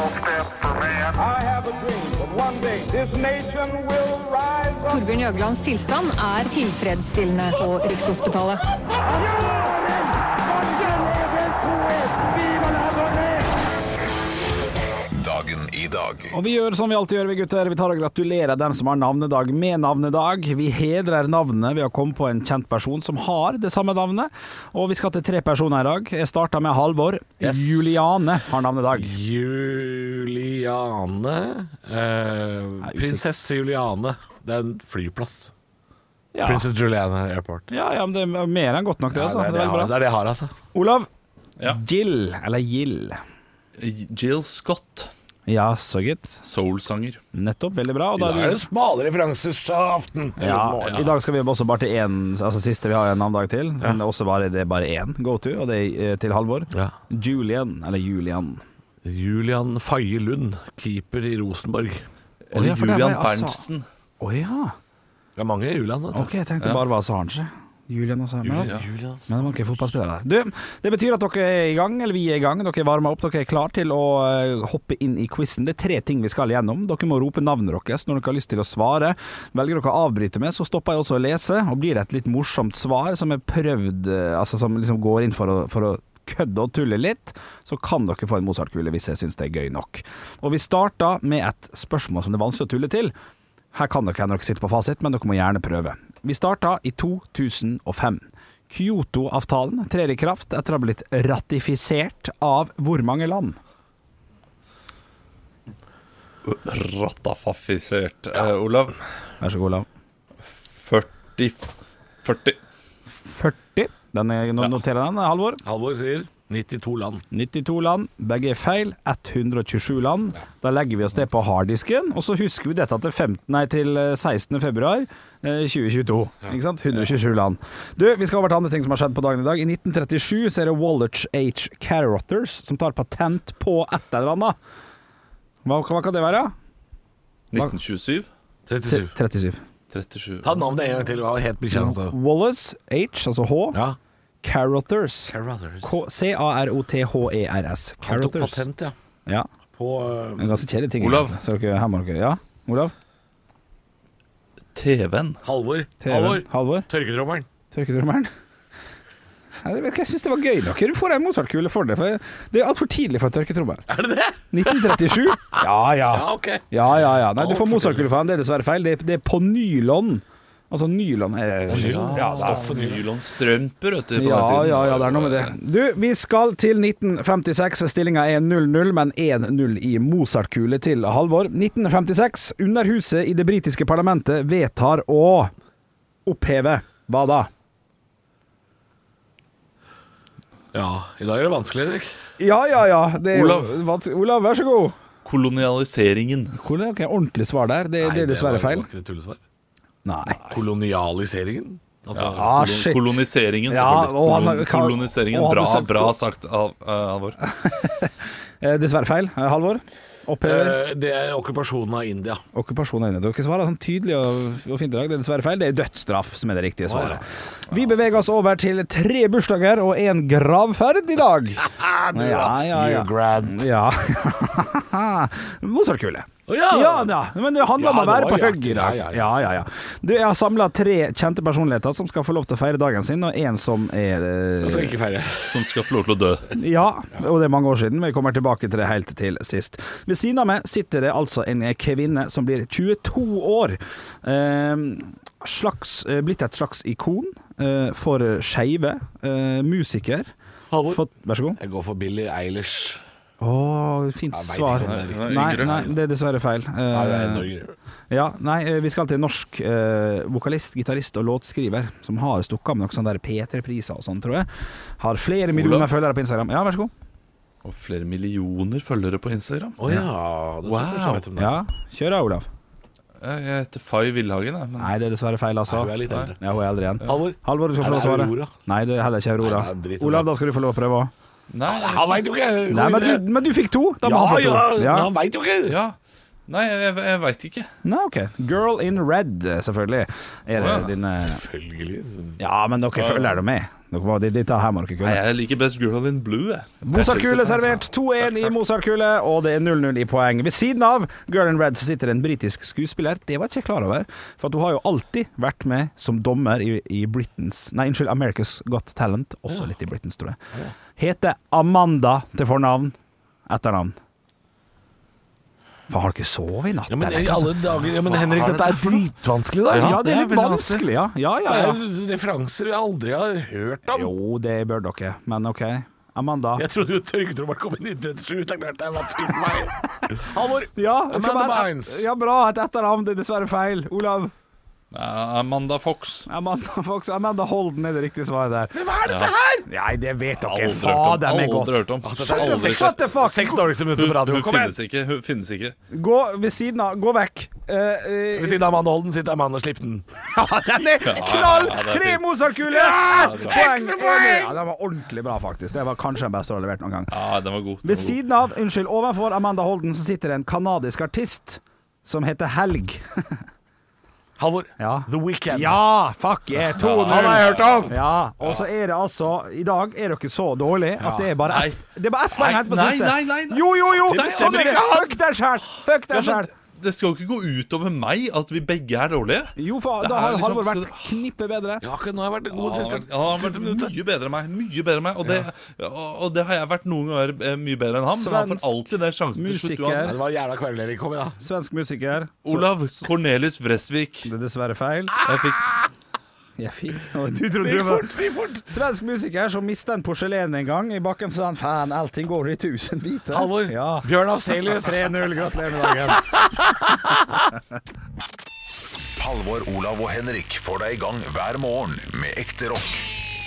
H: I have a dream that one day this nation will rise up.
I: Torbjørn Jøglands tilstand er tilfredsstillende på Rikshospitalet.
A: Dagen i dag.
D: Og vi gjør som vi alltid gjør, vi gutter. Vi tar og gratulerer dem som har navnedag med navnedag. Vi hedrer navnet ved å komme på en kjent person som har det samme navnet. Og vi skal til tre personer i dag. Jeg starta med Halvor. Juliane har navnedag.
C: Juliane eh,
D: usikker.
C: Prinsesse Juliane. Det er en flyplass.
D: Ja.
C: Princess Juliana Airport.
D: Ja, ja, men det er mer enn godt nok, det.
C: Ja,
D: altså.
C: det, er det,
D: det
C: jeg
D: er
C: har,
D: veldig
C: det
D: bra.
C: er det jeg har, altså.
D: Olav.
E: Ja.
D: Jill, eller Jill.
E: Jill Scott,
D: Ja, så gitt.
E: soulsanger.
D: Nettopp. Veldig bra. Og
C: Da
D: da
C: er
D: er
C: det
D: du
C: smale referanser fra aften.
D: ja, I dag skal vi også bare til én, altså siste vi har en navnedag til. Som det også bare, det er bare én go-to, og det er eh, til Halvor.
C: Ja.
D: Julian, eller Julian.
C: Julian Faye Lund, keeper i Rosenborg.
D: Å,
E: Eller
D: ja, for det
E: Julian
D: var jeg, altså.
E: Berntsen.
D: Å ja.
C: Det er mange Julian, vet du.
D: Ok, jeg tenkte bare var Assange. Julian og Samuel.
E: Julian.
C: Julian.
D: Men det var ikke fotballspiller der. Du, det betyr at dere er i gang, eller vi er i gang. Dere er varma opp, dere er klar til å eh, hoppe inn i quizen. Det er tre ting vi skal gjennom. Dere må rope navnet deres når dere har lyst til å svare. Velger dere å avbryte med, så stopper jeg også å lese, og blir det et litt morsomt svar som er prøvd eh, Altså som liksom går inn for å, for å kødde og tulle litt, så kan dere få en Mozart-kule hvis jeg syns det er gøy nok. Og vi starter med et spørsmål som det er vanskelig å tulle til. Her kan dere hende dere sitter på fasit, men dere må gjerne prøve. Vi starta i 2005. Kyoto-avtalen trer i kraft etter å ha blitt ratifisert av hvor mange land?
E: Rattafafisert. Eh, Olav,
D: Vær så god, Olav.
E: 40 40.
D: 40. Den er, no- Noterer den, Halvor.
C: Halvor sier 92 land.
D: 92 land. Begge er feil. 127 land. Da legger vi oss det på harddisken, og så husker vi dette til, 15, nei, til eh, 16. februar eh, 2022. Ikke sant? 127 land. Du, vi skal over til andre ting som har skjedd på dagen i dag. I 1937 så er det Wallach H. Carrotters som tar patent på et eller annet. Hva, hva kan det være?
E: 1927.
C: 37.
D: 37.
E: 37.
C: Ta navnet en gang til. Hva het bikkja altså.
D: Wallace H, altså H.
C: Ja.
D: Carrotters.
C: Carruthers.
D: K- C-a-r-o-t-h-e-r-s.
C: Han tok
D: Carrotters.
C: patent, ja.
D: Ja.
C: På eh,
D: En ganske kjedelig ting.
E: Olav.
D: egentlig. Så dere, her må dere Ja, Olav?
E: TV-en.
C: Halvor.
D: TV.
C: Halvor.
D: Halvor?
C: Tørketrommelen.
D: Tørketrommelen? Nei, Jeg, vet ikke, jeg syns det var gøy nok. Du får en Mozart-kule for det. For det er altfor tidlig for en tørketrommel.
C: Er det det?
D: 1937? Ja, ja.
C: Ja, ok.
D: Ja, ja, ja. Nei, du får Mozart-kule for den. Det er dessverre feil. Det er, det er på nylon. Altså nylon. eh,
E: Ja, Stoffet nylonstrømper, vet du. på
D: Ja,
E: den tiden.
D: ja, ja, det er noe med det. Du, vi skal til 1956. Stillinga er 0-0, men 1-0 i Mozart-kule til Halvor. 1956. Underhuset i det britiske parlamentet vedtar å oppheve, hva da?
C: Ja, i dag er det vanskelig, Henrik.
D: Ja, ja, ja. Det er jo
E: Olav.
D: vanskelig. Olav, vær så god.
E: Kolonialiseringen.
D: Hvor er- ok, ordentlig svar der. Det, det er dessverre feil. Nei.
C: Kolonialiseringen? Altså,
D: Ah, shit.
E: Koloniseringen,
D: Ja,
E: selvfølgelig.
D: og han-
E: Kolon-
D: Karl-
E: Koloniseringen.
D: og han
E: Bra,
D: har sagt-
E: bra sagt, Al- eh, Halvor.
D: Eh, Dessverre feil. Eh, Halvor? Opphever.
C: eh, Det er okkupasjonen av India.
D: Okkupasjon av India. Dere svarer sånn tydelig og, og fint i dag. Det er dessverre feil. Det er dødsstraff som er det riktige svaret. Vi beveger oss over til tre bursdager og én gravferd i dag.
C: Ah,
D: ja, ja, ja. ja. Mozart-kule.
C: Å, ja.
D: Men det handler om
C: Ja,
D: å
C: det
D: være
C: var
D: på
C: jo
D: hugget i dag.
C: artig. Ja, ja,
D: Ja, ja, ja. Du, jeg har samla tre kjente personligheter som skal få lov til å feire dagen sin, og én som er eh,
C: Jeg skal ikke feire.
E: Som skal få lov til å dø.
D: ja, og det er mange år siden. Vi kommer tilbake til det helt til sist. Ved siden av meg sitter det altså en kvinne som blir 22 år. Eh, slags, eh, blitt et slags ikon eh, for skeive. Eh, musiker.
C: Halvor.
D: Fått- vær så god.
C: Jeg går for Billy Eilish.
D: Å, fint
C: Jeg vet
D: svar.
C: ikke om det er
E: riktig.
D: Nei, nei, det er dessverre feil.
C: Nei, det er
D: Eh,
C: Norge.
D: ja, nei, eh, vi skal til en norsk eh, vokalist, gitarist og låtskriver som har stukket av med noen sånne der P3-priser og sånn, tror jeg. Har flere millioner følgere på Instagram. Ja, vær så god.
E: Og flere millioner følgere på Instagram.
C: Å ja. Det
E: Wow.
C: wow. Vet om det.
D: Ja, kjør da, Olav.
E: Jeg jeg heter Fay Villhagen, jeg. Men
D: Nei, det er dessverre feil, altså.
C: Nei, hun er litt eldre.
D: Ja, hun er eldre igjen.
C: Halvor.
D: Halvor, du skal
C: Er
D: få lov
C: det
D: til å svare.
C: Aurora?
D: Nei, det er heller ikke Aurora.
C: Nei, det er drit i det.
D: Olav, da skal du få lov å prøve òg.
E: Nei, jeg-
C: Han veit jo ikke!
D: Nei, men du, men du fikk to! Da må
C: ja,
D: han få to.
C: ja,
D: Ja.
C: men han veit jo ikke!
E: ja. Nei, jeg, jeg, jeg veit ikke.
D: Nei, ok. Girl in red, selvfølgelig. Er det
E: Å, ja.
D: din eh,
C: Selvfølgelig.
D: Ja, men dere følger det med. Dere må, det- dette her må dere
E: Nei,
D: kunne.
E: jeg liker best Girl in Blue, jeg.
D: Mozart-kule servert. 2-1 i Mozart-kule, og det er 0-0 i poeng. Ved siden av Girl in Red så sitter en britisk skuespiller. Det var ikke jeg klar over, for at hun har jo alltid vært med som dommer i, i Britain's Nei, unnskyld, America's Got Talent. Også litt i Britain's, tror jeg. Heter Amanda til fornavn. Etternavn. Faen, har dere sovet i natt?
C: Ja, men
D: eller?
C: i alle dager ja, men Henrik, dette er dritvanskelig, da.
D: ja, det er
E: det er
D: litt
E: veldig
D: vanskelig, ja. Ja,
C: altså- Det
D: ja,
C: er
D: ja.
C: jo referanser jeg aldri har hørt om.
D: Jo, det bør dere, men OK. Amanda.
C: Jeg trodde jo Trygdetrommer kom inn i 97, det er klart det er vanskelig for meg. Halvor.
D: Ja, det skal
C: Amanda
D: være-
C: Bynes.
D: ja, bra. Et etternavn. Det er dessverre feil. Olav.
E: Ja, Amanda Fox.
D: Amanda, Fox, Amanda Holden er det riktige svaret der.
C: Hva er dette her?!
D: Nei, det vet dere
E: Aldri hørt om.
D: fader meg
E: Aldri
D: godt.
E: hørt om.
D: Shut the,
E: Aldri
D: shut
E: sett.
D: the fuck!
C: Seks dårligste minutter
E: Hun,
C: på radio.
E: hun
C: Kom igjen!
E: finnes ikke. Hun finnes ikke.
D: Gå ved siden av. Gå vekk. Eh, eh,
C: Ved siden av Amanda Holden sitter Amanda Slipten.
D: ja, den er knall!
E: ja, det er
D: Tre
E: fint.
D: Mozart-kuler!
E: det er
D: poeng! enig. Ja, den var ordentlig bra, faktisk. Det var kanskje den beste du har levert noen gang.
E: Ja, den var god. Den
D: Ved
E: var god.
D: siden av, unnskyld, overfor Amanda Holden så sitter en kanadisk artist som heter Helg.
C: Halvor.
D: Ja.
C: The Weekend.
D: Ja, fuck yeah! 2-0.
E: Han har jeg hørt om.
D: Ja, og så er det altså I dag er dere så dårlige at det er bare ett
E: Nei.
D: Det er bare ett poeng
E: Nei,
D: helt på
E: nei,
D: siste.
E: nei, nei, nei.
D: Jo, jo, jo!
E: Det
D: Sånn
E: stemmer
D: er det.
E: ikke.
D: Fuck deg sjæl! Fuck
E: Ja,
D: deg
E: men
D: sjæl!
E: det- det skal jo ikke gå utover meg at vi begge er dårlige.
D: Jo, faen,
E: Det
D: da
E: er
D: har
E: liksom-
D: Halvor vært
E: skal-
D: knippet bedre.
C: Ja, ikke- nå har jeg vært god
E: Han har
C: siste,
E: vært- han har
C: siste
E: vært
C: minuttet.
E: mye bedre enn meg, mye bedre enn meg og, det, og, og det har jeg vært noen ganger eh, mye bedre enn ham. Men han får
D: Svensk
E: alltid den sjansen til slutt
D: musiker.
C: Nei,
E: uansett.
C: Det var jævla kverulering. Kom igjen, da.
D: Svensk musiker.
E: Olav Cornelius Vresvik.
D: Det er dessverre feil.
E: Jeg fikk
D: Jeg fikk Du trodde det var Svensk musiker som mista en porselen en gang. I bakken sa han faen, allting går i tusen biter.
C: Halvor.
D: Ja.
C: Bjørn Afselius.
D: 3-0. Gratulerer med dagen.
A: Halvor, Olav og Henrik får deg i gang hver morgen med ekte rock.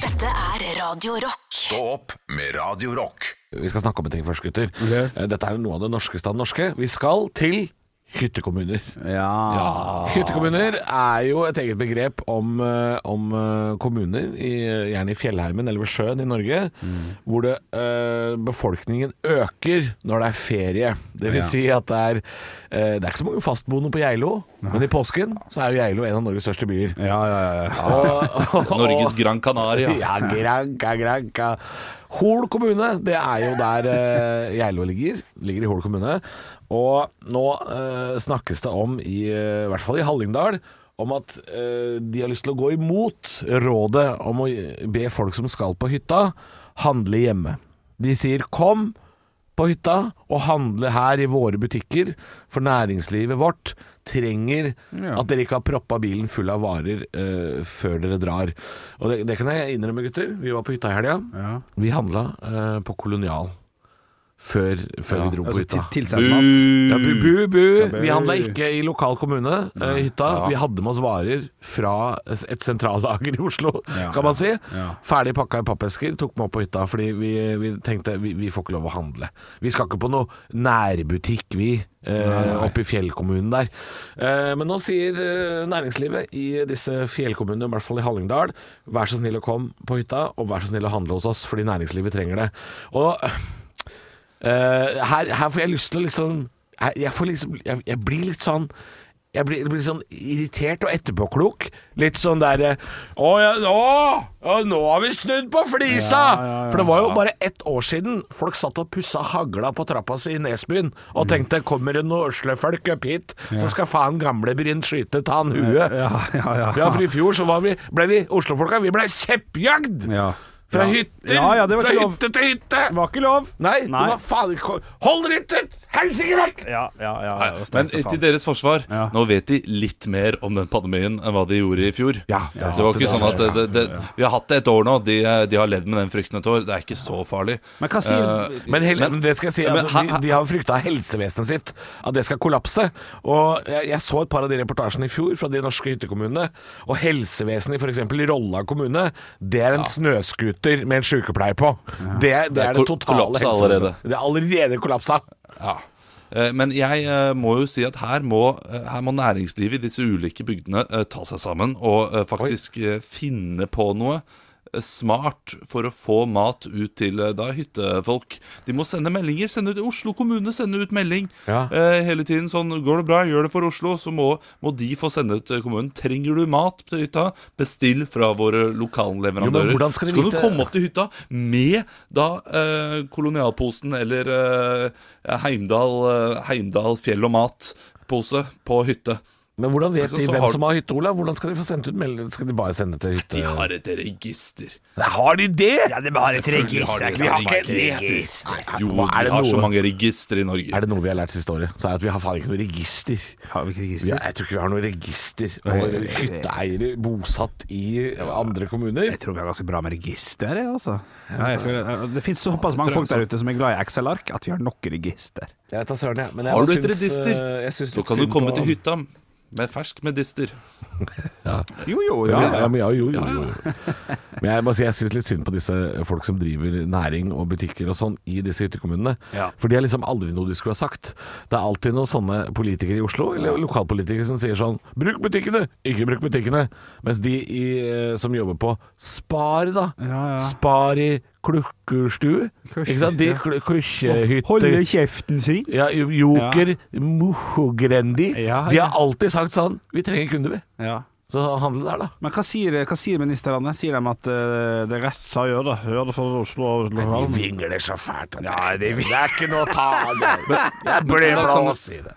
B: Dette er Radio Rock.
A: Stå opp med Radio Rock.
C: Vi skal snakke om en ting først, gutter. Eh, Dette er noe av det norskeste av det norske. Vi skal til hyttekommuner.
D: Ja.
C: Hyttekommuner er jo et eget begrep om, eh, om eh, kommuner, i, gjerne i fjellheimen eller ved sjøen i Norge,
E: Mm.
C: hvor det, eh, befolkningen øker når det er ferie. Det vil si at det er, eh, det er ikke så mange fastboende på Geilo, men i påsken så er jo Geilo en av Norges største byer.
D: Ja, ja, ja.
E: Norges Gran Canaria.
C: Ah! Ja, granka, granka. Hol kommune, det er jo der eh, Geilo ligger. Ligger i Hol kommune. Og nå eh, snakkes det om, i, eh, i hvert fall i Hallingdal, om at eh, de har lyst til å gå imot rådet om å be folk som skal på hytta, handle hjemme. De sier 'kom' på hytta og handle her i våre butikker, for næringslivet vårt trenger at dere ikke har proppa bilen full av varer eh, før dere drar. Og det, det kan jeg innrømme, gutter. Vi var på hytta i helga. Vi handla eh, på Kolonial. før, før vi dro på
D: Altså,
C: hytta.
D: til, tilsendt mat.
E: Uh.
C: Ja, bu, bu, bu.
D: bu.
C: Vi handla ikke i lokal kommune, eh, hytta. Vi hadde med oss varer fra et sentrallager i Oslo,
D: Ja,
C: kan man si.
D: ja.
C: Ferdig pakka i pappesker, tok med opp på hytta fordi vi, vi tenkte vi, vi får ikke lov å handle. Vi skal ikke på noe nærbutikk, vi. Eh, oppe i fjellkommunen der. Eh, men nå sier eh, næringslivet i disse fjellkommunene, i hvert fall i Hallingdal, vær så snill å komme på hytta, og vær så snill å handle hos oss, fordi næringslivet trenger det. Og Eh, her, her får jeg lyst til å liksom her, Jeg får liksom Jeg, jeg blir litt sånn jeg blir, jeg blir sånn irritert og etterpåklok. Litt sånn der eh, Å, ja, å, ja, nå har vi snudd på flisa! For det var jo bare ett år siden folk satt og pussa hagla på trappa si i Nesbyen og
D: Mm.
C: tenkte 'Kommer det noen øslefolk opp hit, så skal faen gamlebryn skyte tan huet'.
D: Ja, ja, ja.
C: Ja, for i fjor så var vi, ble vi Oslofolka Vi ble kjeppjagd!
D: Ja.
C: Fra
D: Ja.
C: hytter!
D: Ja, ja, det var
C: fra
D: ikke lov.
C: hytte til hytte!
D: Det var ikke lov!
C: Nei,
D: Nei.
C: hva faen ikke- Hold dere ikke helsike vekk!
D: Ja, ja, ja,
E: Nei,
D: ja,
E: men
D: så faen.
E: til deres forsvar,
D: Ja.
E: nå vet de litt mer om den pandemien enn hva de gjorde i fjor.
C: Ja,
E: Så det var ikke sånn at det, det, det, Vi har hatt det et år nå, de, eh, de har levd med den frykten et år. Det er ikke så farlig.
D: Men hva sier-
E: Eh,
C: Men, hel, men det skal jeg si,
E: men
C: altså,
E: her-
C: de, de har frykta helsevesenet sitt, at det skal kollapse. Og jeg, jeg så et par av de reportasjene i fjor fra de norske hyttekommunene. Og helsevesenet i f.eks. Rolla kommune, det er en snøscooter med en sykepleier på. Det, det,
E: er
C: er det
E: kol-
C: totale
E: kollapset
C: helsevesenet.
E: allerede.
C: Det er allerede kollapsa.
E: Ja. Eh, Men jeg eh, må jo si at her må, eh, her må næringslivet i disse ulike bygdene eh, ta seg sammen og eh, faktisk eh, finne på noe eh, smart for å få mat ut til eh, da hyttefolk. De må sende meldinger. Sende ut, Oslo kommune sender ut melding
C: Ja.
E: eh, hele tiden. Sånn, går det bra, gjør det for Oslo, så må, må de få sende ut eh, kommunen. Trenger du mat til hytta, bestill fra
C: Jo,
E: våre
C: men
E: lokalleverandører.
C: hvordan skal de
E: så kan
C: vite-
E: du komme opp til hytta med da eh, kolonialposen eller eh, Heimdal, eh, Heimdal fjell og mat-pose på hytte.
C: Men hvordan vet
E: Så-
C: de
E: så
C: hvem
E: har-
C: som har hytte, Olav? Hvordan skal de få sendt ut melding? Skal de bare sende til hytte?
E: De har et register.
C: Nei, har de det?!
D: det var et
E: Selvfølgelig har
D: register.
E: de et
D: Vi har ikke
E: register. Jo,
C: hva er
E: de
C: det
E: har så
C: noe-
E: mange registre i Norge.
C: Er det noe vi har lært siste året, så er det at vi har faen ikke noe register.
D: Har vi ikke
C: Ja,
D: register?
C: jeg tror ikke vi har noe register
D: Oi,
C: over
D: oi, oi.
C: hytteeiere bosatt i eh, andre kommuner.
D: Jeg tror vi er ganske bra med register, jeg, altså. Ja, jeg føler, det finnes såpass mange folk der ute som er glad i Excel-ark at vi har nok register.
C: Jeg tar søren, jeg. Men jeg
E: Har du et
C: syns,
E: register,
C: eh, jeg syns
E: så
C: litt
E: kan du
C: synd
E: komme
C: på-
E: til hytta med fersk medister.
D: Jo, jo, jo.
C: Ja, ja, men ja, jo, jo, jo. Men jeg må si jeg syns litt synd på disse folk som driver næring og butikker og sånn i disse hyttekommunene.
D: Ja.
C: For de har liksom aldri noe de skulle ha sagt. Det er alltid noen sånne politikere i Oslo, eller lokalpolitikere, som sier sånn Bruk butikkene! Ikke bruk butikkene! Mens de i, eh, som jobber på Spar, da.
D: Ja, ja.
C: Spar i klukkerstue.
D: Klukkestue,
C: Ikke sant? De
D: ja.
C: kl
D: Holde
C: klukkjehytter.
D: kjeften sin.
C: Ja, Joker, Mohogrendi.
D: Ja,
C: De
D: ja.
C: har alltid sagt sånn Vi trenger kunder, vi.
D: Ja.
C: Så handle der, da.
D: Men hva sier, hva sier ministrene? Sier de at eh, det er rett å gjøre det? Gjør det for Oslo og Oslo
C: De
D: Havn?
C: vingler så fælt. at det, er ikke- det er ikke noe å ta av. det. Det er blås i det.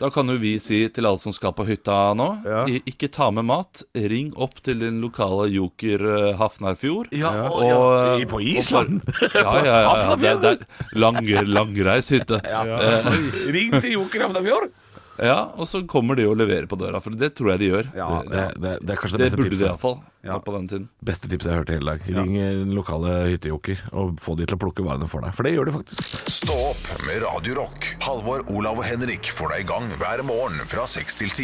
E: Da kan jo vi si til alle som skal på hytta nå i- Ikke ta med mat, ring opp til din lokale joker eh, Hafnarfjord.
C: Ja, og- ja, i- på
E: og
C: Island.
E: for- ja, ja, ja, ja, det, det er lang, langreist hytte. Eh,
C: Ring til Joker Havnafjord.
E: ja, og så kommer de og leverer på døra, for det tror jeg de gjør. det,
C: Det, det, det er kanskje
E: det
C: det, beste
E: burde de
C: tipset.
E: iallfall ja. på den tiden.
C: beste tipset jeg har hørt i hele dag. Ring eh, den lokale hyttejoker og få de til å plukke varene for deg. For det gjør de faktisk.
A: Stå opp med Radio Rock. Halvor, Olav og Henrik får deg i gang hver morgen fra 6 til 10.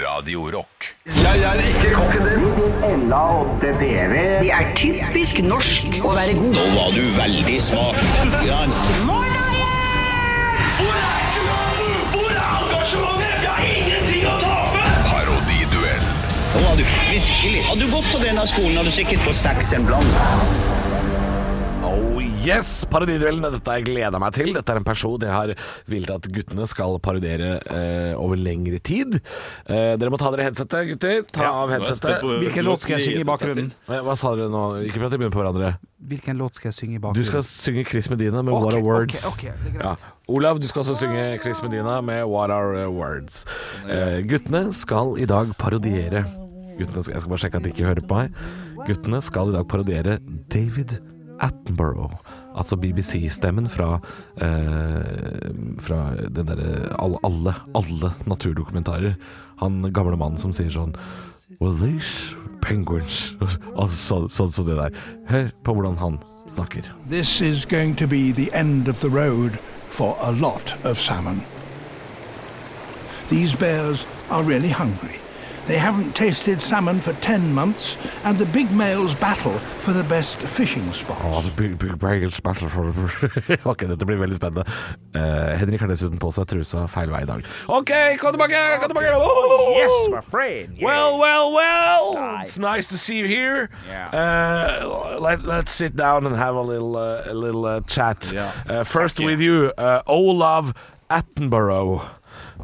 A: Radio Rock.
F: Det er typisk norsk å være god. Nå var du veldig smak.
H: Hvor er engasjementet? Jeg har ingenting å tape!
A: Parodiduell.
F: Nå var du virkelig. Hadde du gått på denne skolen, hadde du sikkert fått seks en blant.
C: Oh yes! Parodiduellen er dette jeg gleder meg til. Dette er en person jeg har villet at guttene skal parodiere eh, over lengre tid. Eh, dere må ta dere headsetet, gutter. Ta av headsetet.
D: Hvilken låt skal jeg synge i bakgrunnen?
C: Hva hva sa dere nå? Ikke prat i munnen på hverandre.
D: Hvilken låt skal jeg synge i
C: Du
D: bakgrunnen?
C: skal synge Chris Medina med What Are Words. Ja. Olav, du skal også synge Chris Medina med What Are Words. Eh, guttene skal i dag parodiere Guttene skal, Jeg skal bare sjekke at de ikke hører på meg. Guttene skal i dag parodiere David Attenborough. Altså BBC-stemmen fra, eh, fra den derre alle, alle, alle naturdokumentarer. Han gamle mannen som sier sånn Well, these penguins Altså så- sånn som det der. Hør på hvordan han snakker.
J: This is going to be the end of the road for a lot of salmon. These bears are really hungry. They haven't tasted salmon for 10 months, and the big males battle for the best fishing
C: Å,
J: spots.
C: the big, big bagels battle for Ok, dette blir veldig spennende. Eh, Henrik har dessuten på seg trusa feil vei i dag. OK, kom tilbake! Kom tilbake! Oh,
D: friend.
C: Well, well, well! It's nice to see you here. Uh, let, let's sit down and have a little, uh, a little uh, chat.
E: Yeah.
C: Uh, first with you, uh, Olav Attenborough.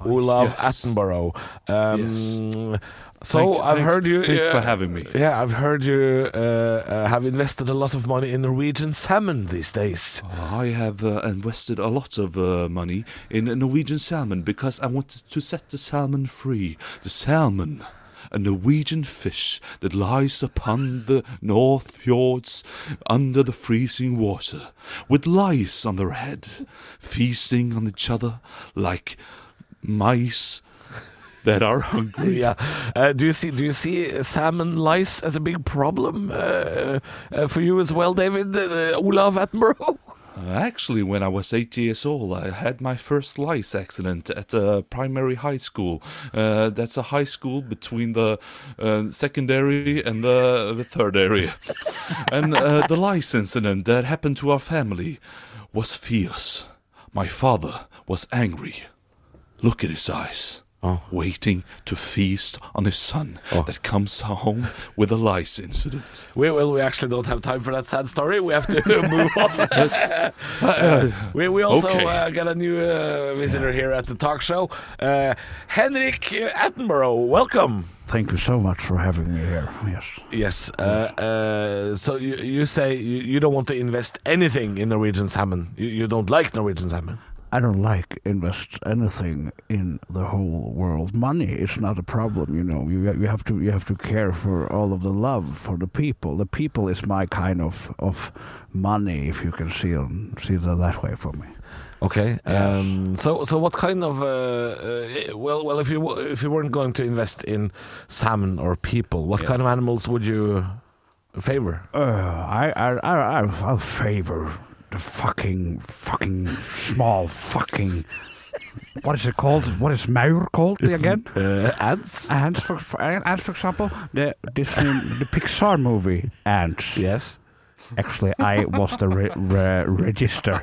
C: Olav
E: Oh, yes.
C: Attenborough. Um, So
E: Thank-
C: I've
E: thanks-
C: heard you.
E: thanks
C: yeah,
E: for having me.
C: Yeah, I've heard you uh, uh, have invested a lot of money in Norwegian salmon these days.
E: I have uh, invested a lot of uh, money in Norwegian salmon because I wanted to set the salmon free. The salmon, a Norwegian fish that lies upon the north fjords under the freezing water, with lice on their head, feasting on each other like mice that are hungry.
C: Yeah. Uh, do you see? Do you see uh, salmon lice as a big problem uh, uh, for you as well, David? Uh, Olav Attenborough.
E: Actually, when I was eight years old, I had my first lice accident at a primary high school. Uh, that's a high school between the uh, secondary and the, the third area. and uh, the lice incident that happened to our family was fierce. My father was angry. Look at his eyes. Waiting to feast on his son that comes home with a lice incident.
C: We well, we actually don't have time for that sad story. We have to move on. Uh, we we also
E: Okay.
C: uh, got a new uh, visitor here at the talk show, uh, Henrik Attenborough. Welcome.
D: Thank you so much for having me here. Yes.
C: Yes. Uh, uh, so you, you say you, you don't want to invest anything in Norwegian salmon. You, you don't like Norwegian salmon.
D: I don't like invest anything in the whole world. Money is not a problem, you know. You you have to you have to care for all of the love for the people. The people is my kind of of money, if you can see on see it that way for me.
C: Okay. Um, so, so what kind of uh, uh, well, well, if you w- if you weren't going to invest in salmon or people, what kind of animals would you favor?
D: Uh, I I I I- I'll favor the fucking fucking small fucking. What is it called? What is mayor called again?
C: Uh, ants.
D: Ants, for, for, ants, for example, the this um, the Pixar movie Ants.
C: Yes.
D: Actually, I was the re- re- register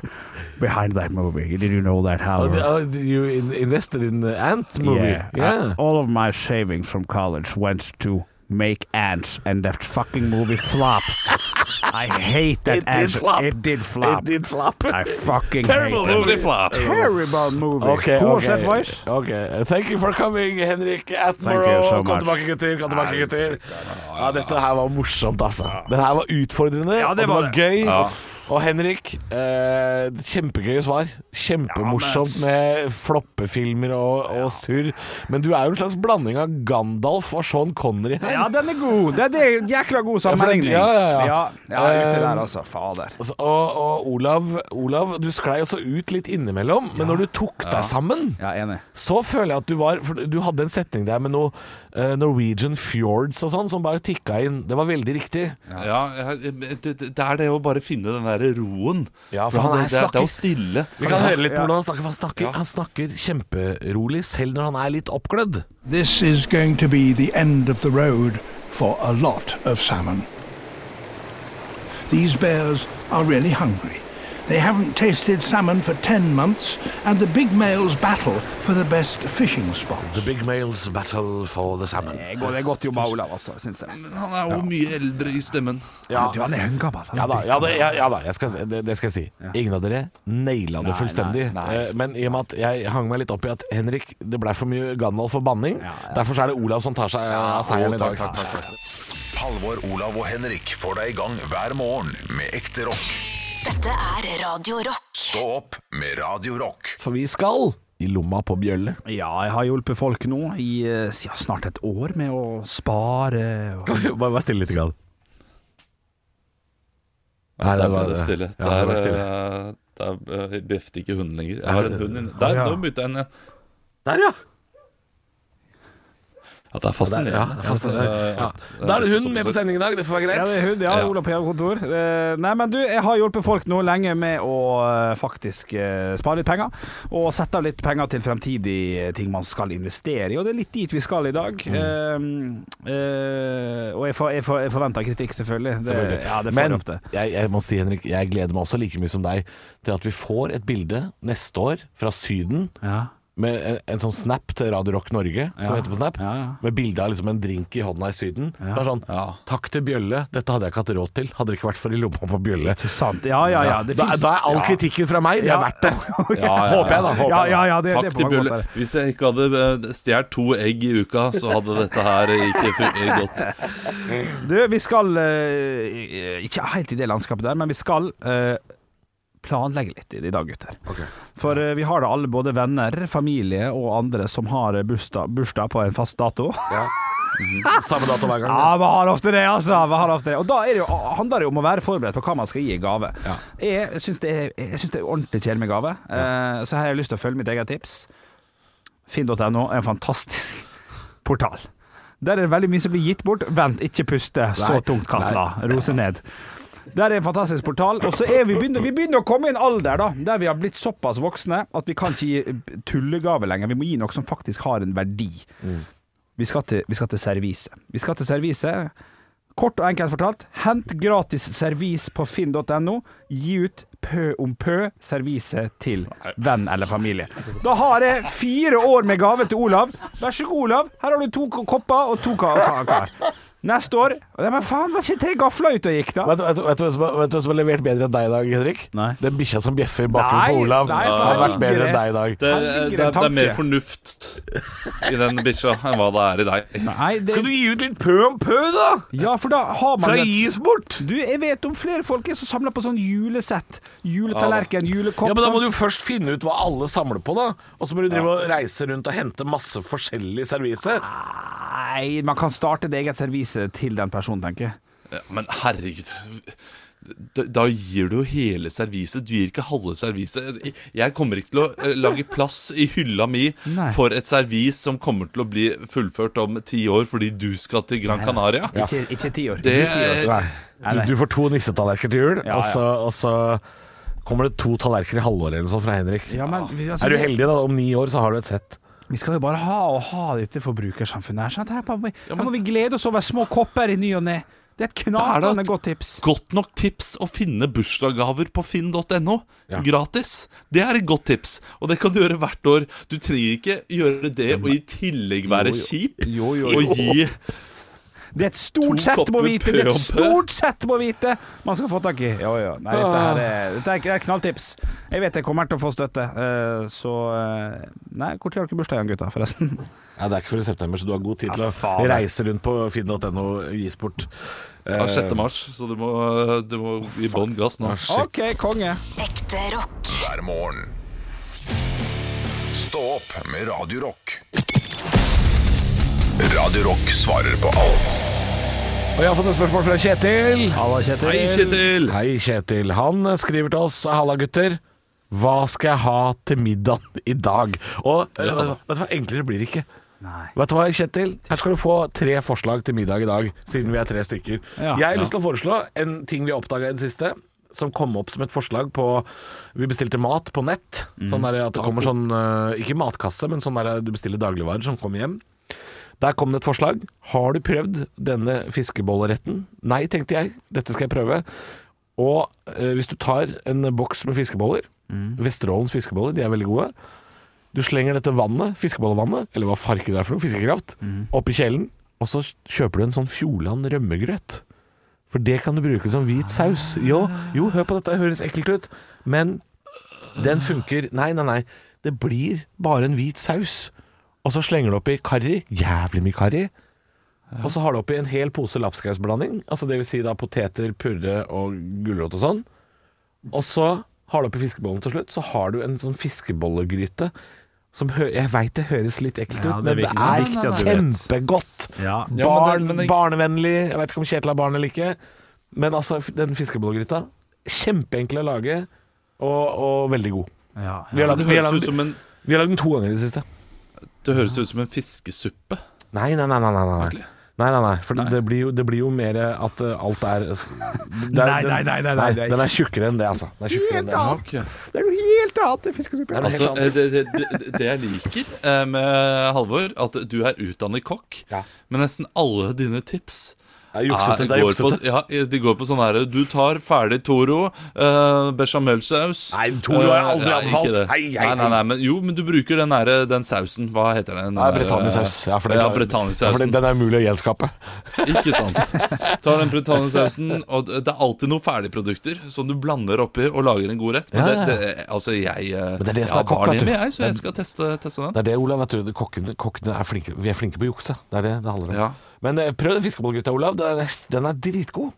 D: behind that movie. Did you know that? How?
C: Oh, the- oh, the- you in- invested in the ant movie.
D: Yeah.
C: Yeah.
D: I- all of my savings from college went to make ants, and that fucking movie flopped. I hate that
C: It did
D: ants.
C: flop.
D: It did flop.
C: It did flop.
D: I fucking
C: Terrible
D: hate that
C: movie.
E: flop.
D: Terrible movie. Who was that voice?
C: Okay. Uh, Thank you for coming, Henrik Attenborough.
D: Thank you so
C: kom
D: much.
C: tilbake, gutter. Kom tilbake, gutter. Ja, dette her var morsomt, altså. Det her var utfordrende,
D: Ja,
C: og
D: det
C: det
D: var
C: var
D: det.
C: gøy.
E: Ja.
C: Og Henrik, eh, kjempegøye svar. Kjempemorsomt med floppefilmer og, og surr. Men du er jo en slags blanding av Gandalf og Sean Connery her.
D: Ja, den er god. Den er jækla god sammenligning.
C: Ja, ja, ja.
D: ja, ute
C: Eh,
D: der, altså. Fader.
C: Altså, Og, og Olav, Olav, du sklei også ut litt innimellom, men når du tok deg sammen
D: Ja, enig.
C: Så føler jeg at du var For du hadde en setning der med noe eh, Norwegian fjords og sånn, som bare tikka inn. Det var veldig riktig.
E: Ja, jeg- jeg- det, det er det å bare finne den der roen.
C: Ja, for han er
E: det, det, det er
C: snakker-
E: jo stille.
C: Vi kan høre litt på hvordan han snakker. For han snakker, han snakker kjemperolig, selv når han er litt oppglødd.
J: This is going to be the end of the road for a lot of salmon. These bears are really hungry. They haven't tasted salmon for 10 months, and the big males battle for the best fishing spots.
C: The big males battle for the salmon.
D: Det er godt jobba, Olav, altså, syns jeg.
E: Men han er jo mye eldre i stemmen.
C: Ja,
D: Du, han er høngabbel.
C: ja da, ja, det, ja, ja da jeg skal, si- det, det skal jeg si. Ingen av dere naila det fullstendig. Eh, Men i og med at jeg hang meg litt opp i at Henrik, det blei for mye Gandalf for banning. Derfor så er det Olav som tar seg av seieren i dag.
A: Halvor, Olav og Henrik får deg i gang hver morgen med ekte rock.
B: Dette er Radio Rock.
A: Stå opp med Radio Rock.
C: For vi skal i lomma på bjølle.
D: Ja, jeg har hjulpet folk nå i eh, ja, snart et år med å spare. og-
C: Bare vær stille litt. Grann. Nei,
E: Der ble
C: var-
E: det stille.
C: Ja, det
E: Der,
C: ble stille.
E: eh, der eh, bjeffte ikke hunden lenger. Jeg har en hund inne. Der,
C: ja.
E: nå bytta jeg en.
C: Der, ja!
E: At
C: Ja,
E: det er
C: det er-
E: fascinerende. Eh,
C: ja, det er fascinerende. Ja.
E: At-
C: Da er det hun
E: såpass-
C: med på sending i dag, det får være
D: Ja, det
C: greit.
D: er hun, ja,
E: Ja.
D: Ola på hjemmekontor. Eh, Nei, men du, jeg har hjulpet folk nå lenge med å eh, faktisk eh, spare litt penger, og sette av litt penger til fremtidige ting man skal investere i, og det er litt dit vi skal i dag. Eh, eh, og jeg, for, jeg, for, jeg forventer kritikk, selvfølgelig. Det,
C: Selvfølgelig.
D: Ja, det får
C: Men
D: jeg ofte.
C: jeg, jeg må si, Henrik, jeg gleder meg også like mye som deg til at vi får et bilde neste år fra Syden
D: Ja.
C: med en, en sånn snap til Radio Rock Norge, som
D: Ja.
C: heter på Snap,
D: Ja, ja.
C: med bilde av liksom en drink i hånda i Syden. Det er sånn
E: Ja.
C: 'Takk til Bjølle, dette hadde jeg ikke hatt råd til, hadde det ikke vært for i lomma på Bjølle'.
D: Så sant. Ja, ja, ja. Det
C: da,
D: finnes-
C: da er all
D: ja.
C: kritikken fra meg, det er
D: Ja.
C: verdt det.
E: ja, ja.
C: Håper jeg, da. Håper jeg
D: Ja,
C: da.
D: ja, ja, det, det
E: Takk
D: er på
E: til
D: mange
E: Bjølle.
D: måter.
E: Hvis jeg ikke hadde eh, stjålet to egg i uka, så hadde dette her ikke fungert godt.
D: Du, vi skal eh, Ikke helt i det landskapet der, men vi skal eh, planlegge litt i det i dag, gutter. For eh, vi har da alle, både venner, familie og andre, som har eh, bursdag, bursdag på en fast dato.
C: Samme dato hver gang.
D: Ja, man har ofte det, altså! Man har ofte det. Og da er det jo, handler det jo om å være forberedt på hva man skal gi i gave. Jeg syns det, er- jeg syns det er ordentlig kjedelig med gave, eh, så her har jeg lyst til å følge mitt eget tips. Finn.no er en fantastisk portal. Der er det veldig mye som blir gitt bort. Vent, ikke puste så tungt, Katla. Rose ned. Der er en fantastisk portal. Og så er vi begynner, vi begynner å komme i en alder da, der vi har blitt såpass voksne at vi kan ikke gi tullegave lenger. Vi må gi noe som faktisk har en verdi. Vi, skal til, vi skal til servise. Vi skal til servise. Kort og enkelt fortalt, hent gratis servis på finn.no. Gi ut pø om pø servise til venn eller familie. Da har jeg fire år med gave til Olav. Vær så god, Olav. Her har du to ko- kopper og to ka- kaker. Neste år Nei, Men faen, var ikke tre gafler ute og gikk, da?
C: Vet, du- vet, du- vet, du hvem som har- vet du hvem som har levert bedre enn deg i dag, Henrik?
D: Nei.
C: Den bikkja som bjeffer i bakgrunnen
D: Nei,
C: på Olav,
D: nei, for
C: har
D: her
C: vært
D: ligger
C: bedre
D: det-
C: enn deg i dag.
E: Det,
D: Her
E: det,
D: ligger
E: det,
D: en
E: er mer
D: tanke.
E: fornuft i den bikkja enn hva det er i deg.
D: Nei, det,
C: Skal du gi ut litt pø om pø, da?
D: Ja, for da har man
C: Fra
D: et-
C: gis bort!
D: Du, jeg vet om flere folk er som samler på sånn julesett. Juletallerken,
C: Ja,
D: julekopp
C: men Da må
D: sånn.
C: du jo først finne ut hva alle samler på, da. Og så må du drive og reise rundt og hente masse forskjellig servise.
D: Ah, Nei, man kan starte et eget servise til den personen, tenker jeg.
E: Ja, men herregud da, da gir du jo hele serviset. Du gir ikke halve serviset. Altså, jeg- Jeg kommer ikke til å eh, lage plass i hylla mi
D: Nei.
E: for et servis som kommer til å bli fullført om ti år fordi du skal til Gran Canaria.
D: Ikke, ikke ti år.
E: Det-
D: Ikke ti år. Nei.
C: Du,
D: Nei,
C: du får to nissetallerkener til jul,
D: Ja,
C: og, så, og så kommer det to tallerkener i halvåret eller noe sånt fra Henrik.
D: Ja, men vi- altså,
C: Er du heldig, da? Om ni år så har du et sett.
D: Vi skal jo bare ha og ha dette forbrukersamfunnet her. Sant? Her, må vi, her må vi glede oss over små kopper i ny og ne. Det er et
E: Da er
D: knakende
E: det-
D: godt tips.
E: Godt nok tips å finne bursdagsgaver på finn.no. Gratis. Det er et godt tips, og det kan du gjøre hvert år. Du trenger ikke gjøre det og i tillegg være kjip
D: Jo, jo, jo.
E: og gi
D: Det er et stort
E: To
D: sett må
E: kopper
D: vite! Det er et
E: pø om pø.
D: stort sett må vite man skal få tak i. Jo, jo. Nei, dette her er, dette er- det er knalltips. Jeg vet jeg kommer til å få støtte, eh, så eh, Nei, hvor tid har dere bursdag igjen, gutta, forresten?
C: Ja, Det er ikke før i september, så du har god tid til å
D: faen.
C: reise rundt på finn.no gis bort. Eh,
E: ja, 6. mars, så du må, du må gi bånn gass nå.
D: OK, konge.
B: Ekte rock.
A: hver morgen. Stå opp med Radio Rock. Radio Rock svarer på alt.
C: Og jeg har fått et spørsmål fra Kjetil.
D: Halla, Kjetil.
E: Hei, Kjetil!
C: Hei, Kjetil. Han skriver til oss Halla, gutter. Hva skal jeg ha til middag i dag? Og eh, vet du hva, enklere blir det ikke.
D: Nei.
C: Vet du hva, Kjetil? Her skal du få tre forslag til middag i dag, siden vi er tre stykker.
D: Ja.
C: jeg har lyst til å foreslå en ting vi har oppdaga i det siste, som kom opp som et forslag på Vi bestilte mat på nett.
D: Mm.
C: Sånn der at det kommer sånn eh, Ikke matkasse, men sånn der du bestiller dagligvarer som kommer hjem. Der kom det et forslag. Har du prøvd denne fiskebolleretten? Nei, tenkte jeg. Dette skal jeg prøve. Og eh, hvis du tar en boks med fiskeboller,
D: Mm.
C: Vesterålens fiskeboller, de er veldig gode. Du slenger dette vannet, fiskebollevannet, eller hva farken det er for noe, fiskekraft, opp i kjelen, og så kjøper du en sånn Fjordland rømmegrøt. For det kan du bruke som hvit saus. Jo, jo, hør på dette, det høres ekkelt ut, men den funker. Nei, nei, nei. Det blir bare en hvit saus. Og så slenger du oppi karri. Jævlig mye karri. Og så har du oppi en hel pose lapskausblanding. Altså det vil si da poteter, purre og gulrot og sånn. Og så har du oppi fiskebollen til slutt. Så har du en sånn fiskebollegryte. Som hø jeg veit det høres litt ekkelt ut,
D: Ja, det
C: men det er
D: virker- det er viktig at du vet.
C: kjempegodt.
D: Ja.
E: Ja, men det-
C: Barn,
E: men det-
C: Barnevennlig. Jeg veit ikke om Kjetil har barn eller ikke. Men altså, f- den fiskebollegryta. Kjempeenkel å lage, og, og veldig god.
D: Ja,
C: Vi har
E: Det
C: lagd- vi har
E: høres
C: lagd
E: ut som en
C: vi har lagd den to ganger i det siste.
E: Det høres ut som en fiskesuppe.
C: Nei, nei, nei. nei, nei, nei. Nei, nei, nei, for Det, blir jo, det blir jo mer at eh, alt er, det er
D: Nei, nei, nei, nei, nei, nei.
C: Den er tjukkere enn det, altså. Den er tjukkere enn det, altså.
E: Ok.
D: Det er noe helt annet enn fiskesuppe.
E: Altså, eh, det, det, det, det jeg liker eh, med Halvor, at du er utdannet kokk,
C: Ja.
E: men nesten alle dine tips
C: Det er juksete.
E: er-
C: Det er
E: går på,
C: juksete.
E: ja, de går på sånn her Du tar ferdig Toro, eh, bechamelsaus
C: Nei, Toro har jeg aldri
E: Eh, ja,
C: anbefalt.
E: ikke det.
C: Hei, hei,
E: Nei, nei, nei, men, jo, men du bruker den, her, den sausen. Hva heter den? den
C: Nei,
E: der, eh,
C: Britanniasaus. Ja, for det-
E: ja,
C: Ja, for
E: Britanniasausen.
C: den- den er umulig å gjenskape.
E: Ikke sant. Tar den britanniasausen, og det det er alltid noen ferdigprodukter som du blander oppi og lager en god rett. Men
C: Ja, ja, ja.
E: det, det, altså, jeg eh,
C: det er det
E: jeg
C: som er
E: har
C: kokk,
E: barn
C: vet du.
E: hjemme, jeg, så jeg skal teste, teste den.
C: Det er det, Olav. Vet du, kokkene, kokkene er flinke. Vi er flinke på å jukse. Det er det det handler om.
E: Ja.
C: Men eh, prøv den fiskebollgryta, Olav. Den er, den er dritgod.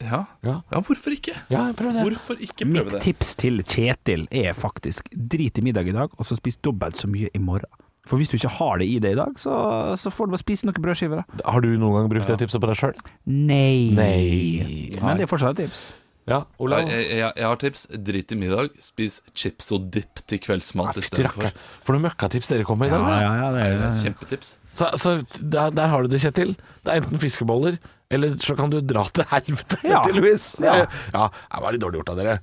E: Ja,
C: Ja.
E: ja hvorfor ikke?
C: Ja, prøv det.
E: Hvorfor ikke prøve
D: Mitt
E: det?
D: tips til Kjetil er faktisk drit i middag i dag, og så spis dobbelt så mye i morgen. For hvis du ikke har det i deg i dag, så, så får du bare spise noen brødskiver. da.
C: Har du noen gang brukt det tipset på deg sjøl?
D: Nei.
C: Nei.
D: Men det er fortsatt et tips.
C: Ja,
E: Ja,
C: Olav?
E: Jeg, jeg, jeg har tips. Drit i middag. Spis chips og dip til kveldsmat
C: Fytti
E: istedenfor.
C: rakkeren. For noen møkkatips dere kommer med i dag. da.
D: ja, det er
E: Eh, Kjempetips.
C: Så, så der, der har du det, Kjetil. Det er enten fiskeboller, eller så kan du dra til helvete,
D: Ja.
C: tydeligvis. Ja.
D: Ja.
C: ja, det var litt dårlig gjort av dere.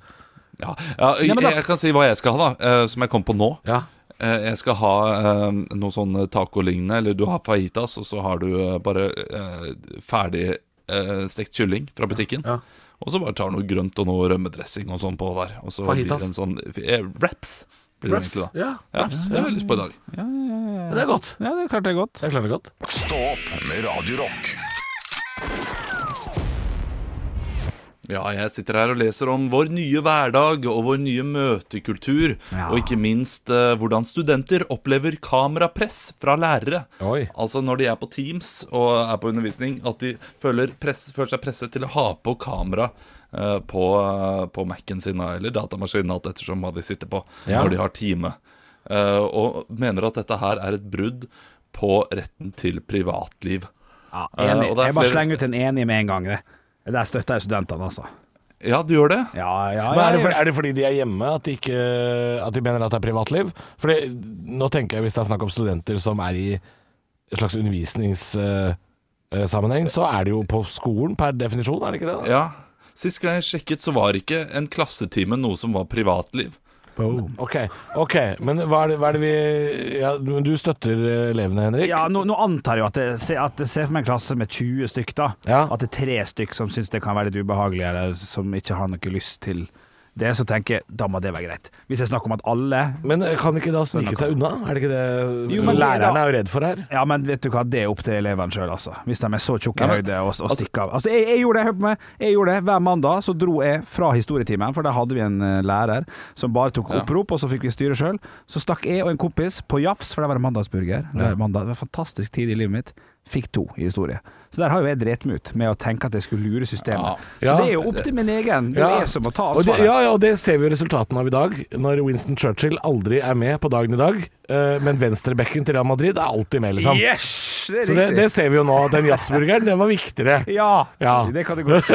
E: Ja, ja, jeg,
D: men da-
E: jeg kan si hva jeg skal ha, da, eh, som jeg kom på nå.
C: Ja.
E: Eh, Jeg skal ha eh, noe sånn tacolignende, eller du har fajitas, og så har du eh, bare eh, ferdig eh, stekt kylling fra butikken.
C: Ja.
E: Og så bare tar du noe grønt og noe rømmedressing og sånn på der. Og så
C: Fajitas.
E: blir det en sånn eh, wraps. Blir
C: Wraps,
E: Det, egentlig, da.
C: ja.
E: Ja, det har jeg lyst på i dag.
C: Det er godt.
D: Ja, det er klart det er godt.
C: Jeg klarer det godt.
A: Stå opp med Radio Rock.
E: Ja, jeg sitter her og leser om vår nye hverdag og vår nye møtekultur.
D: Ja.
E: Og ikke minst eh, hvordan studenter opplever kamerapress fra lærere.
C: Oi.
E: Altså når de er på Teams og er på undervisning, at de føler, press, føler seg presset til å ha på kamera eh, på, eh, på Mac-en sin eller datamaskinen, alt ettersom hva de sitter på
C: Ja.
E: når de har time. Eh, og mener at dette her er et brudd på retten til privatliv.
D: Ja,
E: Eh,
D: enig.
E: og det er
D: Jeg bare
E: flere-
D: slenger ut en enig med en gang. Det, det der støtter jeg studentene, altså.
E: Ja, du gjør det?
D: Ja, ja,
C: Men
D: ja.
C: er, det for, er det fordi de er hjemme at de, ikke, at de mener at det er privatliv? For det, nå tenker jeg hvis det er snakk om studenter som er i en slags undervisningssammenheng, så er det jo på skolen per definisjon, er det ikke det? da?
E: Ja. Sist gang jeg sjekket, så var ikke en klassetime noe som var privatliv.
D: Boom.
C: Ok, ok, men hva er det, hva er det vi ja, men Du støtter eh, elevene, Henrik?
D: Ja, nå, nå antar jeg jo at jeg, se- at jeg ser for meg en klasse med 20 stykk, da.
C: Ja.
D: At det er tre stykk som syns det kan være litt ubehagelig, eller som ikke har noe lyst til det. Så tenker jeg da må det være greit. Hvis jeg snakker om at alle
C: Men eh, kan ikke da snike seg unna? Er det ikke det
D: Jo, men det er da-
C: lærerne er jo redd for her?
D: ja, men vet du hva, det er opp til elevene sjøl, altså. Hvis de er så tjukke i
E: Ja, men-
D: høyde og, og stikker av. Altså, jeg, jeg gjorde det, hør på meg. Jeg gjorde det. Hver mandag så dro jeg fra historietimen, for der hadde vi en eh, lærer som bare tok opprop, og så fikk vi styre sjøl. Så stakk jeg og en kompis på Jafs, for det var en mandagsburger. Det, var mandag, det var en fantastisk tid i livet mitt. Fikk to i historie. Så der har jo jeg drept meg ut med å tenke at jeg skulle lure systemet.
C: Ja.
D: Så det er jo opp til min egen. Det er
C: Ja.
D: jeg som må ta
C: Og det,
D: ansvaret.
C: ja, ja, og det ser vi jo resultatene av i dag, når Winston Churchill aldri er med på dagen i dag, eh, men venstrebekken til Real Madrid er alltid med, liksom.
D: Yes! Det er
C: Så det,
D: riktig.
C: det ser vi jo nå, at den jazzburgeren, den var viktigere.
D: ja,
C: Ja.
D: det kan det godt si.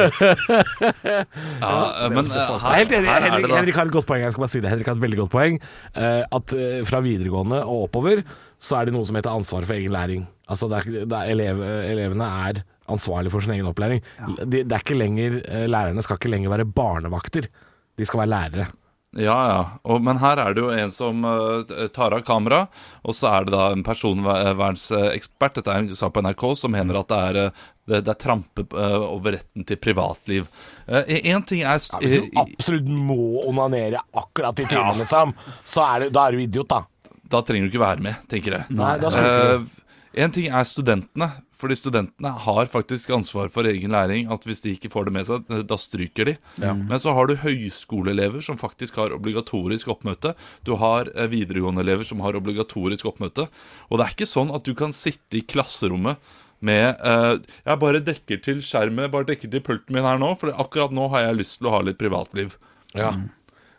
E: Ja, men eh, her,
C: Jeg er helt enig.
E: her er
C: Henrik,
E: det da
C: Henrik har et godt poeng. Jeg skal bare si det. Henrik har et veldig godt poeng. eh, at eh, fra videregående og oppover så er det noe som heter ansvar for egen læring. Altså det er, ikke- det er elev, elevene er ansvarlig for sin egen opplæring. De, det er ikke lenger, eh, lærerne skal ikke lenger være barnevakter. De skal være lærere.
E: Ja, ja. Og, men her er det jo en som eh, tar av kamera, og så er det da en personvernsekspert, dette er en sak på NRK, som mener at det er, eh, det, det er trampe eh, over retten til privatliv. Én ting er st-
C: Hvis du
E: eh,
C: absolutt må onanere akkurat i timen, liksom, så er det, da er du idiot, da.
E: Da trenger du ikke være med, tenker jeg.
C: Nei, da skal du ikke
E: Eh, en ting er studentene, fordi studentene har faktisk ansvar for egen læring. At hvis de ikke får det med seg, eh, da stryker de. Men så har du høyskoleelever som faktisk har obligatorisk oppmøte. Du har eh, videregående elever som har obligatorisk oppmøte. Og det er ikke sånn at du kan sitte i klasserommet med eh, Jeg bare dekker til skjermen, bare dekker til pulten min her nå, for akkurat nå har jeg lyst til å ha litt privatliv.
C: Mm.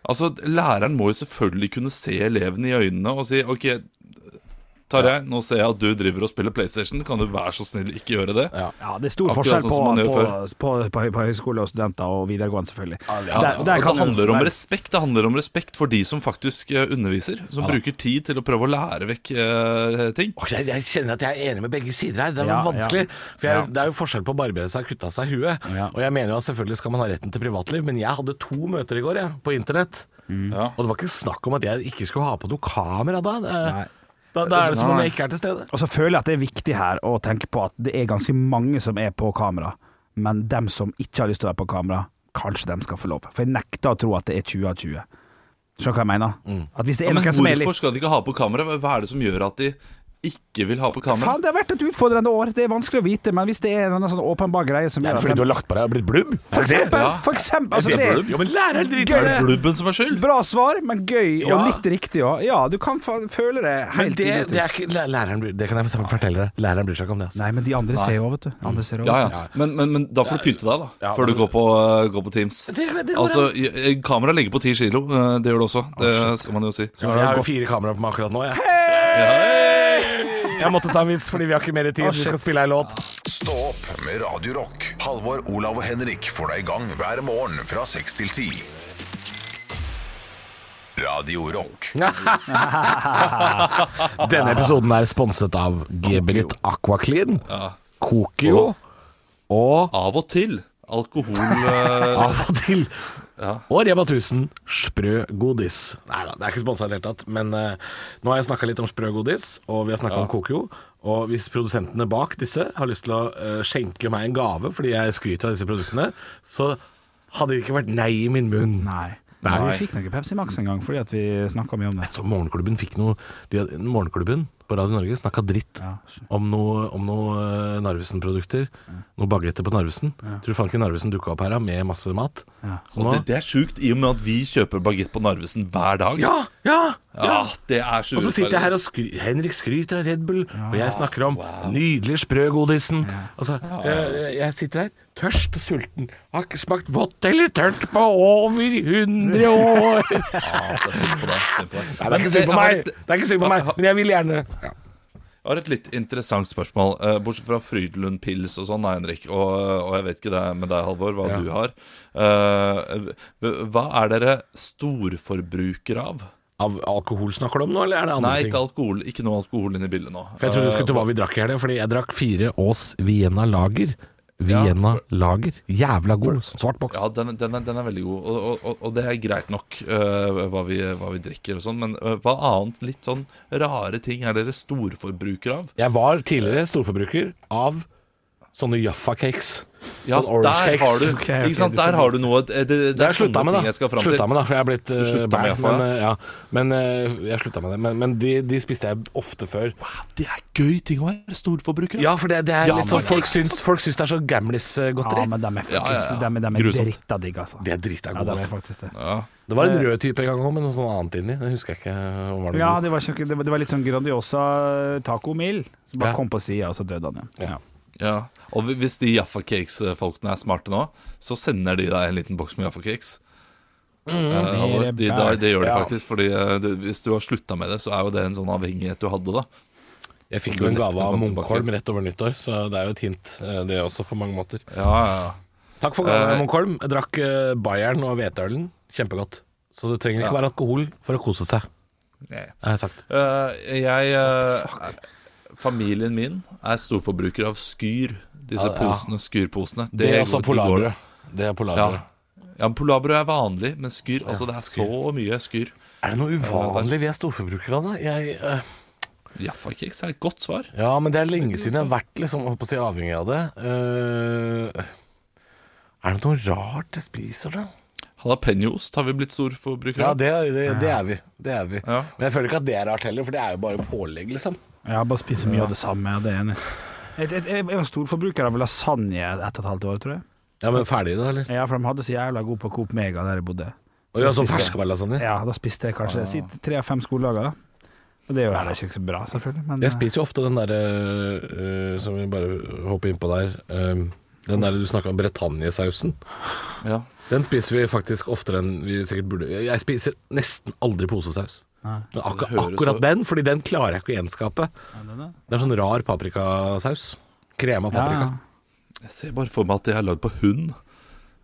E: Altså, Læreren må jo selvfølgelig kunne se elevene i øynene og si OK, Tarjei, nå ser jeg at du driver og spiller PlayStation. Kan du være så snill ikke gjøre det?
C: Ja.
D: Ja, det er stor
E: Akkurat
D: forskjell
E: sånn
D: på,
E: som man gjør
D: på, på, på, på høyskole og studenter og videregående, selvfølgelig.
E: Ja,
D: Der- der
E: og
D: kan jo-
E: det handler om
D: der-
E: respekt Det handler om respekt for de som faktisk eh, underviser. Som bruker tid til å prøve å lære vekk eh, ting.
C: Åh, Jeg, jeg kjenner at jeg er enig med begge sider her. Det er jo
D: Ja,
C: vanskelig.
D: ja.
C: For jeg,
D: Ja.
C: Det er jo forskjell på å barbere seg og kutte av seg huet.
D: Ja.
C: Og jeg mener jo at selvfølgelig skal man ha retten til privatliv, men jeg hadde to møter i går jeg, på internett.
D: Mm.
E: Ja.
C: Og det var ikke snakk om at jeg ikke skulle ha på noe kamera da. Det er-
D: Nei.
C: Da, da er det som om jeg ikke er til stede.
D: Og så føler jeg at det er viktig her å tenke på at det er ganske mange som er på kamera, men dem som ikke har lyst til å være på kamera, kanskje dem skal få lov. For jeg nekter å tro at det er 20 av 20. Skjønner du hva jeg mener? At hvis det er
E: Mm. Ja, men
D: noen som er litt
E: hvorfor skal de ikke ha på kamera? Hva- Hva er det som gjør at de ikke vil ha på kamera?
D: Faen, det har vært et utfordrende år, det er vanskelig å vite, men hvis det er en sånn åpenbar greie som gjør at
C: Fordi du
D: dem-
C: har lagt på deg og blitt blubb?
D: For eksempel!
E: Ja.
D: For eksempel altså,
E: Jeg
D: det
E: ble
D: er
E: blubb.
C: Ja, men læreren driter i
E: Er det
C: det!
E: blubben som er skyld?
D: Bra svar, men gøy og
C: Ja.
D: litt riktig òg. Ja, du kan fa føle det
C: Men
D: helt
C: det, det, er
D: idiotisk.
C: ikke, læ- læreren, bryr- det kan jeg fortelle deg. Læreren bryr seg ikke om det. Altså.
D: Nei, men de andre ser jo òg, vet du. Andre ser jo
E: Ja,
D: også.
E: ja. Men, men, men da får du pynte deg, da.
C: Ja,
E: Før du
C: men-
E: går på, eh, går på Teams.
C: det går
E: Altså, j- kamera legger på ti kilo. eh, Det gjør det også. Det
C: Ah,
E: skal man jo si.
C: Jeg har jo fire kameraer på meg akkurat nå. Jeg. jeg måtte ta en vits fordi vi har ikke mer tid. Vi skal spille ei låt.
A: Stå opp med Radio Rock. Halvor, Olav og Henrik får deg i gang hver morgen fra 6 til 10. Radio Rock.
C: Denne episoden er sponset av Geberit Aquaclean, Kokio og
E: Av og til. Alkohol eh,
C: av og til og Rema 1000 sprø godis. Nei da, det er ikke sponsa i det hele tatt. Men eh, nå har jeg snakka litt om sprø godis, og vi har snakka om Kokio. Og hvis produsentene bak disse har lyst til å eh, skjenke meg en gave fordi jeg skryter av disse produktene, så hadde det ikke vært nei i min munn.
D: Nei.
C: Nei.
D: Vi fikk noe Pepsi Max en gang fordi at vi snakka mye om det.
C: Jeg så Morgenklubben fikk noe de, hadde- Morgenklubben på Radio Norge snakka dritt om noe, om noe eh, Narvesen-produkter. Noe bagetter på Narvesen. Tror du faen ikke Narvesen dukka opp her da, med masse mat? Så
E: Og
C: nå,
E: det, det er sjukt, i og med at vi kjøper bagett på Narvesen hver dag.
C: ja, ja, ja!
E: Ja, det er så
C: Og så sitter jeg her
E: urettferdig.
C: og skry Henrik skryter av Red Bull, og jeg snakker om nydelig sprøgodisen. Altså, jeg, jeg sitter her tørst og sulten. Har ikke smakt vått eller tørt på over 100 år. Nei,
E: Ja, det er synd på deg. Synd på
C: det er ikke synd på meg,
E: deg. jeg, har et,
C: Det er ikke synd på meg men jeg vil gjerne ja.
E: jeg har et litt interessant spørsmål. eh, Bortsett fra Frydenlund Pils og sånn, nei, Henrik, og, og jeg vet ikke det med deg, Halvor, hva du har. Eh, hva er dere storforbrukere av?
C: Av alkohol snakker du om nå, eller er det andre
E: Nei,
C: ting?
E: ikke Eh, alkohol. Ikke noe alkohol inn i bildet nå.
C: For jeg trodde du skulle til hva vi drakk i helga, fordi jeg drakk fire Ås Vienna Lager. Vienna Lager. Jævla god. Svart boks.
E: Ja, den, den, er, den er veldig god, og, og, og, og det er greit nok øh, hva, vi, hva vi drikker og sånn, men øh, hva annet litt sånn rare ting er dere storforbrukere av?
C: Jeg var tidligere storforbruker av sånne Jaffa-cakes.
E: Ja,
C: sånn orange
E: der
C: cakes.
E: har du,
D: Ok, ok,
E: ikke sant,
D: du
E: der har du noe Det, det, det,
C: Det har
E: er
C: jeg slutta
E: sånne
C: med, da.
E: ting jeg skal fram til.
C: Slutta med da, for jeg er blitt uh,
E: slutta med
C: bæl.
E: Jaffa,
C: Men, eh, ja. men eh, jeg slutta med det. Men, men de, de spiste jeg ofte før.
E: Wow, det er gøy ting å være storforbruker av.
C: Ja, for det, det er
E: Ja,
C: litt sånn
E: men-
C: folk syns, folk syns det er så
D: Ja,
C: gamlis-godteri.
D: men de er,
E: Ja, ja, ja.
D: faktisk, de, de er
E: Grusomt.
D: dritta digg, altså.
C: det er drita
D: Ja,
C: god.
D: de er
C: altså.
D: faktisk det.
C: det var en rød type en gang òg, med noe sånt annet inni. Det husker jeg ikke. om Var noe
D: Eh, Ja,
C: god.
D: det var, ikke, noe- det var- det var litt sånn Grandiosa eh, taco meal. Så bare
C: Ja.
D: kom på sida, og så døde han igjen. Ja.
E: Ja. Og hvi- hvis de Jaffa Cakes-folkene er smarte nå, så sender de deg en liten boks med Jaffa Cakes.
C: Mm,
E: Eh, og
D: Dere
E: de, da- det gjør de
C: Ja.
E: faktisk, Fordi eh, du, hvis du har slutta med det, så er jo det en sånn avhengighet du hadde, da.
C: Jeg fikk jo en gave av
E: Kom tilbake.
C: Munkholm rett over nyttår, så det er jo et hint, eh, det også, på mange måter.
E: Ja, ja, ja.
C: Takk for gaven,
E: Eh,
C: Munkholm. Jeg drakk eh, Bayern og hvetølen. Kjempegodt. Så det trenger ikke være alkohol for å kose seg.
E: Nei.
C: Jeg har sagt.
E: Eh, jeg eh, Familien min er storforbruker av Skyr. Disse posene, Skyr-posene.
C: Det er altså
E: går- de går-
C: polarbrød. Det er polarbrød.
E: Ja. ja, men Polarbrød er vanlig, men Skyr altså Det er så mye Skyr.
C: Er det noe uvanlig vi er storforbrukere av, da? Jeg, eh,
E: Jaffakeks er et godt svar.
C: ja, men det er lenge siden jeg har vært liksom, holdt på å si, avhengig av det. Eh, er det noe rart jeg spiser, da?
E: Jalapeñoost har vi blitt storforbrukere
C: Ja,
E: av.
C: det, det, det er vi. Det er vi.
E: Ja.
C: Men jeg føler ikke at det er rart heller, for det er jo bare pålegg, liksom.
D: Ja, bare spiser mye av det samme. Ja, det er enig. Jeg, jeg, jeg var storforbruker av lasagne ett og et halvt år, tror jeg.
C: Ja, men ferdig da, eller?
D: Ja, For de hadde så jævla god på Coop Mega der jeg bodde.
C: Og ja, sånn
D: Spiste.
C: ferskvarelasagne.
D: Ja, da spiste jeg kanskje si tre av fem skoledager, da. Og det er jo heller ikke så bra, selvfølgelig, men
C: Jeg spiser jo ofte den derre øh, som vi bare hopper innpå der. øhm, den der du snakka om Britanniasausen.
E: Ja.
C: Den spiser vi faktisk oftere enn vi sikkert burde. Jeg spiser nesten aldri posesaus. Men akkur
E: høres
C: akkurat
E: så-
C: den, fordi den klarer jeg ikke å gjenskape. Det er sånn rar paprikasaus. Krema paprika.
E: Jeg ser bare for meg at de er lagd på hund.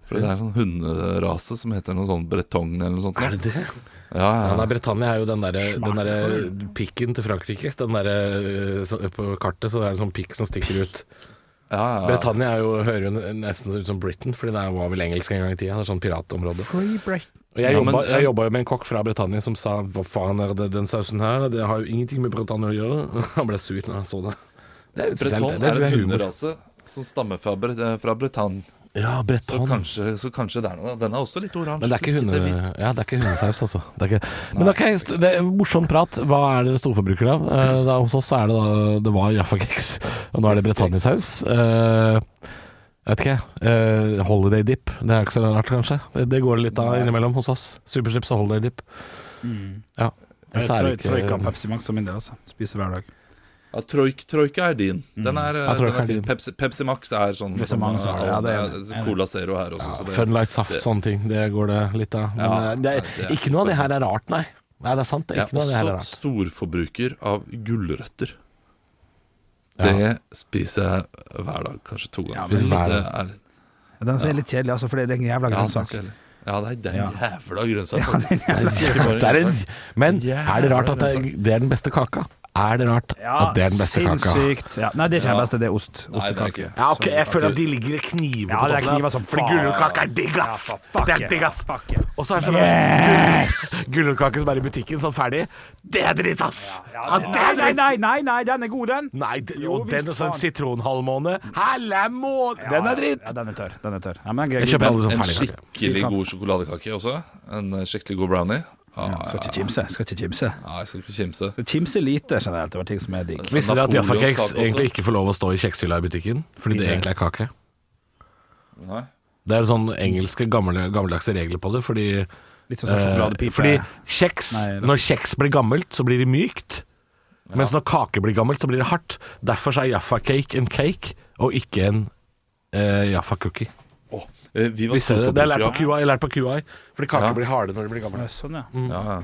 E: For det er en sånn hunderase som heter noe sånn bretong eller noe sånt. nå.
C: Er det det?
E: Ja,
C: Ja, nei,
E: ja.
C: Britannia er jo den derre der pikken til Frankrike. Den derre eh, så- På kartet så er det en sånn pikk som stikker ut.
E: ja, ja.
C: Britannia er jo, hører jo nesten ut som Britain, fordi det var vel engelsk en gang i tida. Det er sånn piratområde.
D: Free break.
C: Og jeg
E: Ja, men- eh,
C: jobba jeg jobba jo med en kokk fra Britannia som sa hva faen er det den sausen her, det har jo ingenting med Britannia å gjøre. Han ble sur når han så det. Det er, det,
E: Breton er
C: det
E: en
C: er humor.
E: hunderase som stammer fra, Bre- eh, fra Bretagne.
C: Ja,
E: Så, kanskje, så kanskje det er noe Den er også litt oransje.
C: Men det er ikke, eh, hunde,
E: litt hvit.
C: ja, det er ikke hundesaus, altså. Det er ikke, men ok, st- det er morsom prat. Hva er dere storforbrukere av? Eh, da, hos oss så er det da Det var Jaffa-keks, og nå er det Britanniasaus. Eh, jeg vet ikke. eh, holiday dip. Det er ikke så rart, kanskje. Det, det går det litt av innimellom hos oss. Superslips og holiday dip.
E: Mm.
C: Ja. Så
D: Jeg
C: er
D: tror
C: det ikke-
D: ikke Pepsi Max som min del, altså. Spiser hver dag.
E: Ja, troik, troika er din. Den er, eh,
C: Ja,
E: den
C: troika er
E: er fin.
C: din.
E: Pepsi, Pepsi Max er sånn
D: Det er så mange som har det, ja, det er det.
E: det er Cola Zero her også. så det-
C: Funlight saft,
E: det-
C: sånne ting. Det går det litt av. Men
E: Ja,
C: eh, det er,
E: det er
C: ikke noe av det her er rart, nei. Nei, det er sant. Det er
E: Jeg
C: ikke noe av det her
E: er
C: er
E: også
C: rart.
E: storforbruker av gulrøtter.
C: Ja.
E: Det spiser jeg hver dag, kanskje to ganger.
C: men hver
E: det
C: dag.
E: er,
D: Den som er litt kjedelig, altså, for det er en jævla
E: ja, det er
D: grønnsak.
E: kjedelig. ja, det er den
D: Ja.
E: jævla grønnsak, faktisk.
C: Det er en, men er det rart at det,
E: Jævla
C: det er den beste kaka? Er det rart at det er den beste kaka?
D: sinnssykt. Ja. Nei, det er ikke den
E: Ja.
D: beste, det er ost.
E: Nei, det er
D: Ostekake.
E: ikke.
C: Ja, ok, jeg føler at de ligger kniver
D: Ja,
C: på
D: det er
C: toppen.
D: kniver
C: ass.
D: som
C: Fordi
D: faen.
C: gulrotkake er digg, ass!
D: Ja, for fuck
C: det er
D: yeah,
C: digg, ass!
D: fuck yeah.
C: Og så er det sånn yes! gulrotkake som er i butikken, sånn ferdig. Det er dritt, ass! Ja, det
D: Nei,
C: er
D: nei,
C: dritt!
D: nei, nei, nei, den er god, den.
C: Nei, d-
D: Jo,
C: og den
D: visst
C: og sånn
D: faen.
C: sitronhalvmåne. Helle måne! Den er dritt!
D: Ja, den er tørr. Den er tørr. Ja, men den er
C: Jeg kjøper
D: god.
C: alle sånn
E: En
C: ferdigkake.
E: skikkelig god sjokoladekake også. En eh, skikkelig god brownie. Ah,
D: Ja, Skal ikke kimse. Skal ikke kimse.
E: Nei, jeg skal ikke kimse.
D: Skal kimse lite generelt over ting som er digg.
C: Visste dere at Jaffa-keks
E: Napoleonskake også?
C: egentlig ikke får lov å stå i kjekshylla i butikken? Fordi det egentlig er kake.
E: Nei.
C: Det er sånn engelske gamle, gammeldagse regler på det, fordi
D: Litt sånn som sjokoladepipe.
C: Eh, Fordi kjeks,
D: Nei, det-
C: når kjeks blir gammelt, så blir det mykt. Mens når kake blir gammelt, så blir det hardt. Derfor så er Jaffa-cake en cake, og ikke en eh, Jaffa-cookie.
E: Åh, eh, vi var
C: Visste dere det? Det er lært på
E: storforbrukere-
C: QI, lært på QI fordi kaker
E: Ja.
C: blir harde når de blir gamle.
D: Sånn, ja.
C: Mm.
E: Ja, ja.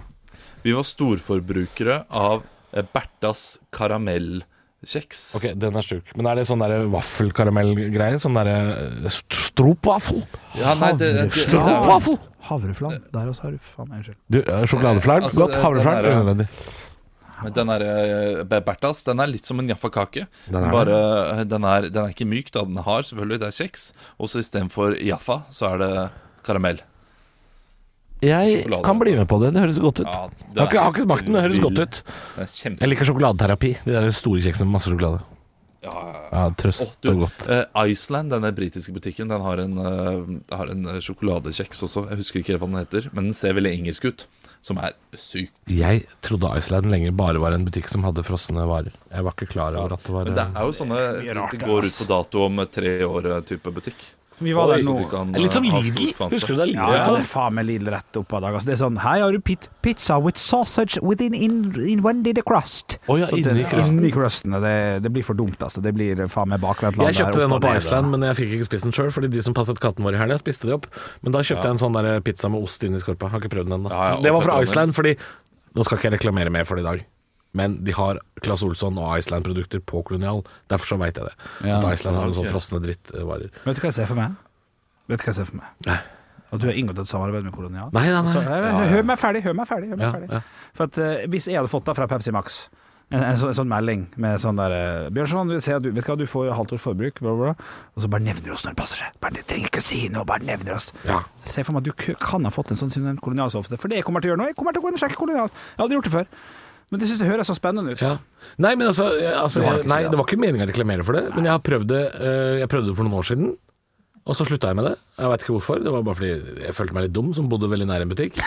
E: Vi var storforbrukere av eh, Bertas karamellkjeks.
C: Ok, den er sjuk. Men er det sånn der vaffelkaramellgreie? Sånn derre eh, st- stropvaffel?
E: Ja, nei, det, det, det, det er
C: Stropvaffel!
D: Havreflan. Der også har du faen Unnskyld.
C: Du, eh, Sjokoladeflarm?
E: Altså,
C: Godt.
E: det-
C: Havreflarm?
E: den er-
C: Unødvendig.
E: Men Den er, eh, Be- Bertas den er litt som en jaffakake. Den,
C: er
E: Bare, eh, den, er, den er ikke myk, da. Den er hard, selvfølgelig. Det er kjeks. Og så istedenfor jaffa, så er det karamell.
C: Jeg
E: Sjokolade.
C: kan bli med på det. Det høres godt ut.
E: Ja,
C: Jeg
E: det
C: har ikke,
E: er
C: har ikke smakt den, men det høres
E: vill.
C: godt ut.
E: Det er kjempe...
C: Jeg liker sjokoladeterapi. De der store kjeksene med masse sjokolade.
E: Ja, ja, ja.
C: Ja, trøst
E: Åh, du,
C: og godt.
E: eh, Iceland, denne britiske butikken, den har en, eh, har en eh, sjokoladekjeks også. Jeg husker ikke helt hva den heter, men den ser veldig engelsk ut. Som er sykt
C: Jeg trodde Iceland lenge bare var en butikk som hadde frosne varer. Jeg var ikke klar over at det var
E: Men det er jo sånne Det går ut på dato om tre år eh, type butikk.
D: Vi var der
E: Så
D: nå.
E: du kan,
C: Litt som
E: eh, ha
C: Lidl.
E: stor kvante.
C: Husker du det?
D: Ja,
C: Lidl?
D: ja, det er faen meg Lidl rett opp av dag. Altså, det er sånn Her har du pit pizza with sausage within in, in one day the crust.
C: Å ja,
D: Sånn at
C: inni
D: det-
C: krusten.
D: Inni crusten. og Det, det blir for dumt, altså. Det blir faen meg bakvendt
C: Jeg kjøpte den nå på
D: opp av
C: Iceland, men jeg fikk ikke spist den sjøl, fordi de som passet katten vår i helga, spiste de opp. Men da kjøpte jeg en sånn der pizza med ost inni skorpa. Har ikke prøvd den ennå.
E: Ja, ja,
C: det var fra
E: og
C: Iceland, fordi Nå skal ikke jeg reklamere mer for det i dag. Men de har Claes Olsson og Iceland-produkter på Kolonial. Derfor så veit jeg det.
D: Ja,
C: at Iceland har noen
E: ok.
C: sånne frosne drittvarer.
D: Vet du hva jeg ser for meg? Vet du hva jeg ser for meg?
C: Nei.
D: At du har inngått et samarbeid med Kolonial.
C: Nei, nei, nei.
D: Så, nei, nei, Hør meg ferdig, hør meg ferdig. Hør meg
C: Ja,
D: ferdig.
C: ja.
D: For at, eh, hvis jeg hadde fått det fra Pepsi Max en, en, sånn, en sånn melding med sånn der eh, Bjørnson, vi ser at du, vet du hva, du får halvt års forbruk, bla, bla, bla. Og så bare nevner du oss når det passer seg. Bare, du trenger ikke å si noe, bare nevner oss.
C: Ja.
D: Se for meg at du k- kan ha fått en sånn siden kolonial så ofte. For det jeg kommer til å gjøre nå, jeg kommer til å gå inn og sjekke kolonial. Jeg har aldri gjort det før. Men det syns jeg høres så spennende ut.
C: Ja. Nei, men altså, jeg- altså
D: Du har
C: jeg,
D: ikke
C: nei,
D: sett det,
C: det var ikke meninga å reklamere for det, men jeg har prøvd det eh, Jeg prøvde det for noen år siden, og så slutta jeg med det. Jeg veit ikke hvorfor. Det var bare fordi jeg følte meg litt dum som bodde veldig nær en butikk.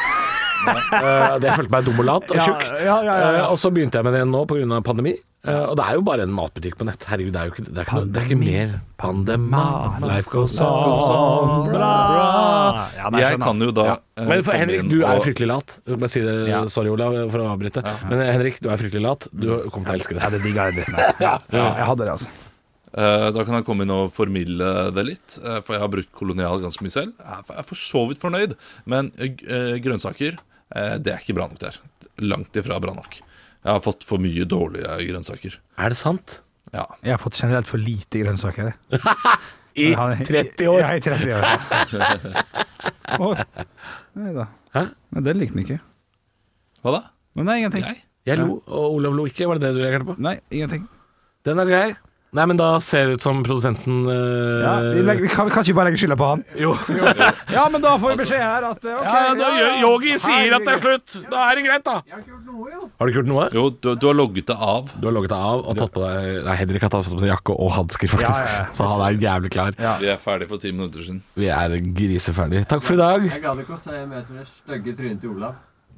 C: Eh, det- jeg følte meg dum og lat og
D: Ja,
C: tjukk.
D: ja, ja, ja, ja.
C: Eh, og så begynte jeg med det igjen nå pga. pandemi. Eh, og det er jo bare en matbutikk på nett. Herregud, det er jo ikke, det er ikke, noe, det er ikke mer Pandema, life goes on.
D: Bra! Ja, nei,
E: Jeg
D: skjønner.
E: kan jo da
C: Ja.
E: eh,
C: Men for
E: komme
C: Henrik,
E: inn
C: du er
E: og-
C: jo fryktelig lat. Jeg skal Bare si det,
D: Ja.
C: Sorry, Olav, for å avbryte. Men eh, Henrik, du er fryktelig lat. Du kommer til å elske det.
D: Ja, det digga jeg dritten der. Ja, jeg hadde det, altså.
E: Eh, Da kan jeg komme inn og formidle det litt, eh, for jeg har brukt kolonial ganske mye selv. Jeg er for- jeg er for så vidt fornøyd, men eh, g- eh, grønnsaker, eh, det er ikke bra nok der. langt ifra bra nok. Jeg har fått for mye dårlige grønnsaker.
C: Er det sant?
E: Ja.
D: Jeg har fått generelt for lite grønnsaker. jeg.
C: I
D: Jeg har-
C: 30 år?
D: Ja, i 30 år. Oi. Nei da.
C: Hæ?
D: Men den likte han ikke.
E: Hva da?
D: Men nei, ingenting.
E: Jeg?
C: Jeg lo, og Olav lo ikke. Var det det du reagerte på?
D: Nei, ingenting.
C: Den er grei. Nei, men da ser det ut som produsenten eh,
D: Ja, vi, legger, vi kan, vi kan ikke bare legge skylda på han.
C: Jo.
D: Ja, men da får vi beskjed her at eh, ok,
C: Ja, da gjør Yogi sier at det er
D: Herregud.
C: slutt! Da er det greit, da. Har du ikke gjort noe?
E: Jo, du, du har logget det av.
C: Du har logget deg av og tatt på deg Nei, Henrik har tatt på seg jakke og hansker, faktisk.
D: Ja, ja, ja.
C: Så han er jævlig klar.
E: Vi er ferdig for ti minutter siden.
C: Vi er griseferdige. Takk for i dag.
K: Jeg gadd ikke å se mer til det stygge trynet til Olav.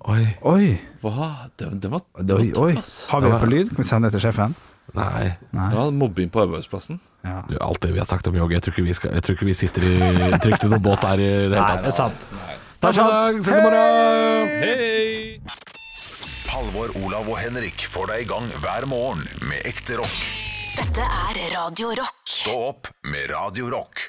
C: Oi.
D: Oi.
E: Hva? Den, den var, den
D: Oi,
E: var
D: oi.
E: tøff, ass.
D: Har vi det på lyd? Kan vi sende det til sjefen?
C: Nei.
E: Ja, mobbing på arbeidsplassen.
D: Ja.
C: Du, alt det vi har sagt om yogi, jeg tror ikke vi, skal, jeg tror ikke vi sitter i trygt i noen båt her i det hele tatt.
D: det er sant.
C: Takk for i dag. Ses i morgen.
E: Hei!
A: Halvor, Olav og Henrik får deg i gang hver morgen med ekte rock.
B: Dette er Radio Rock.
A: Stå opp med Radio Rock.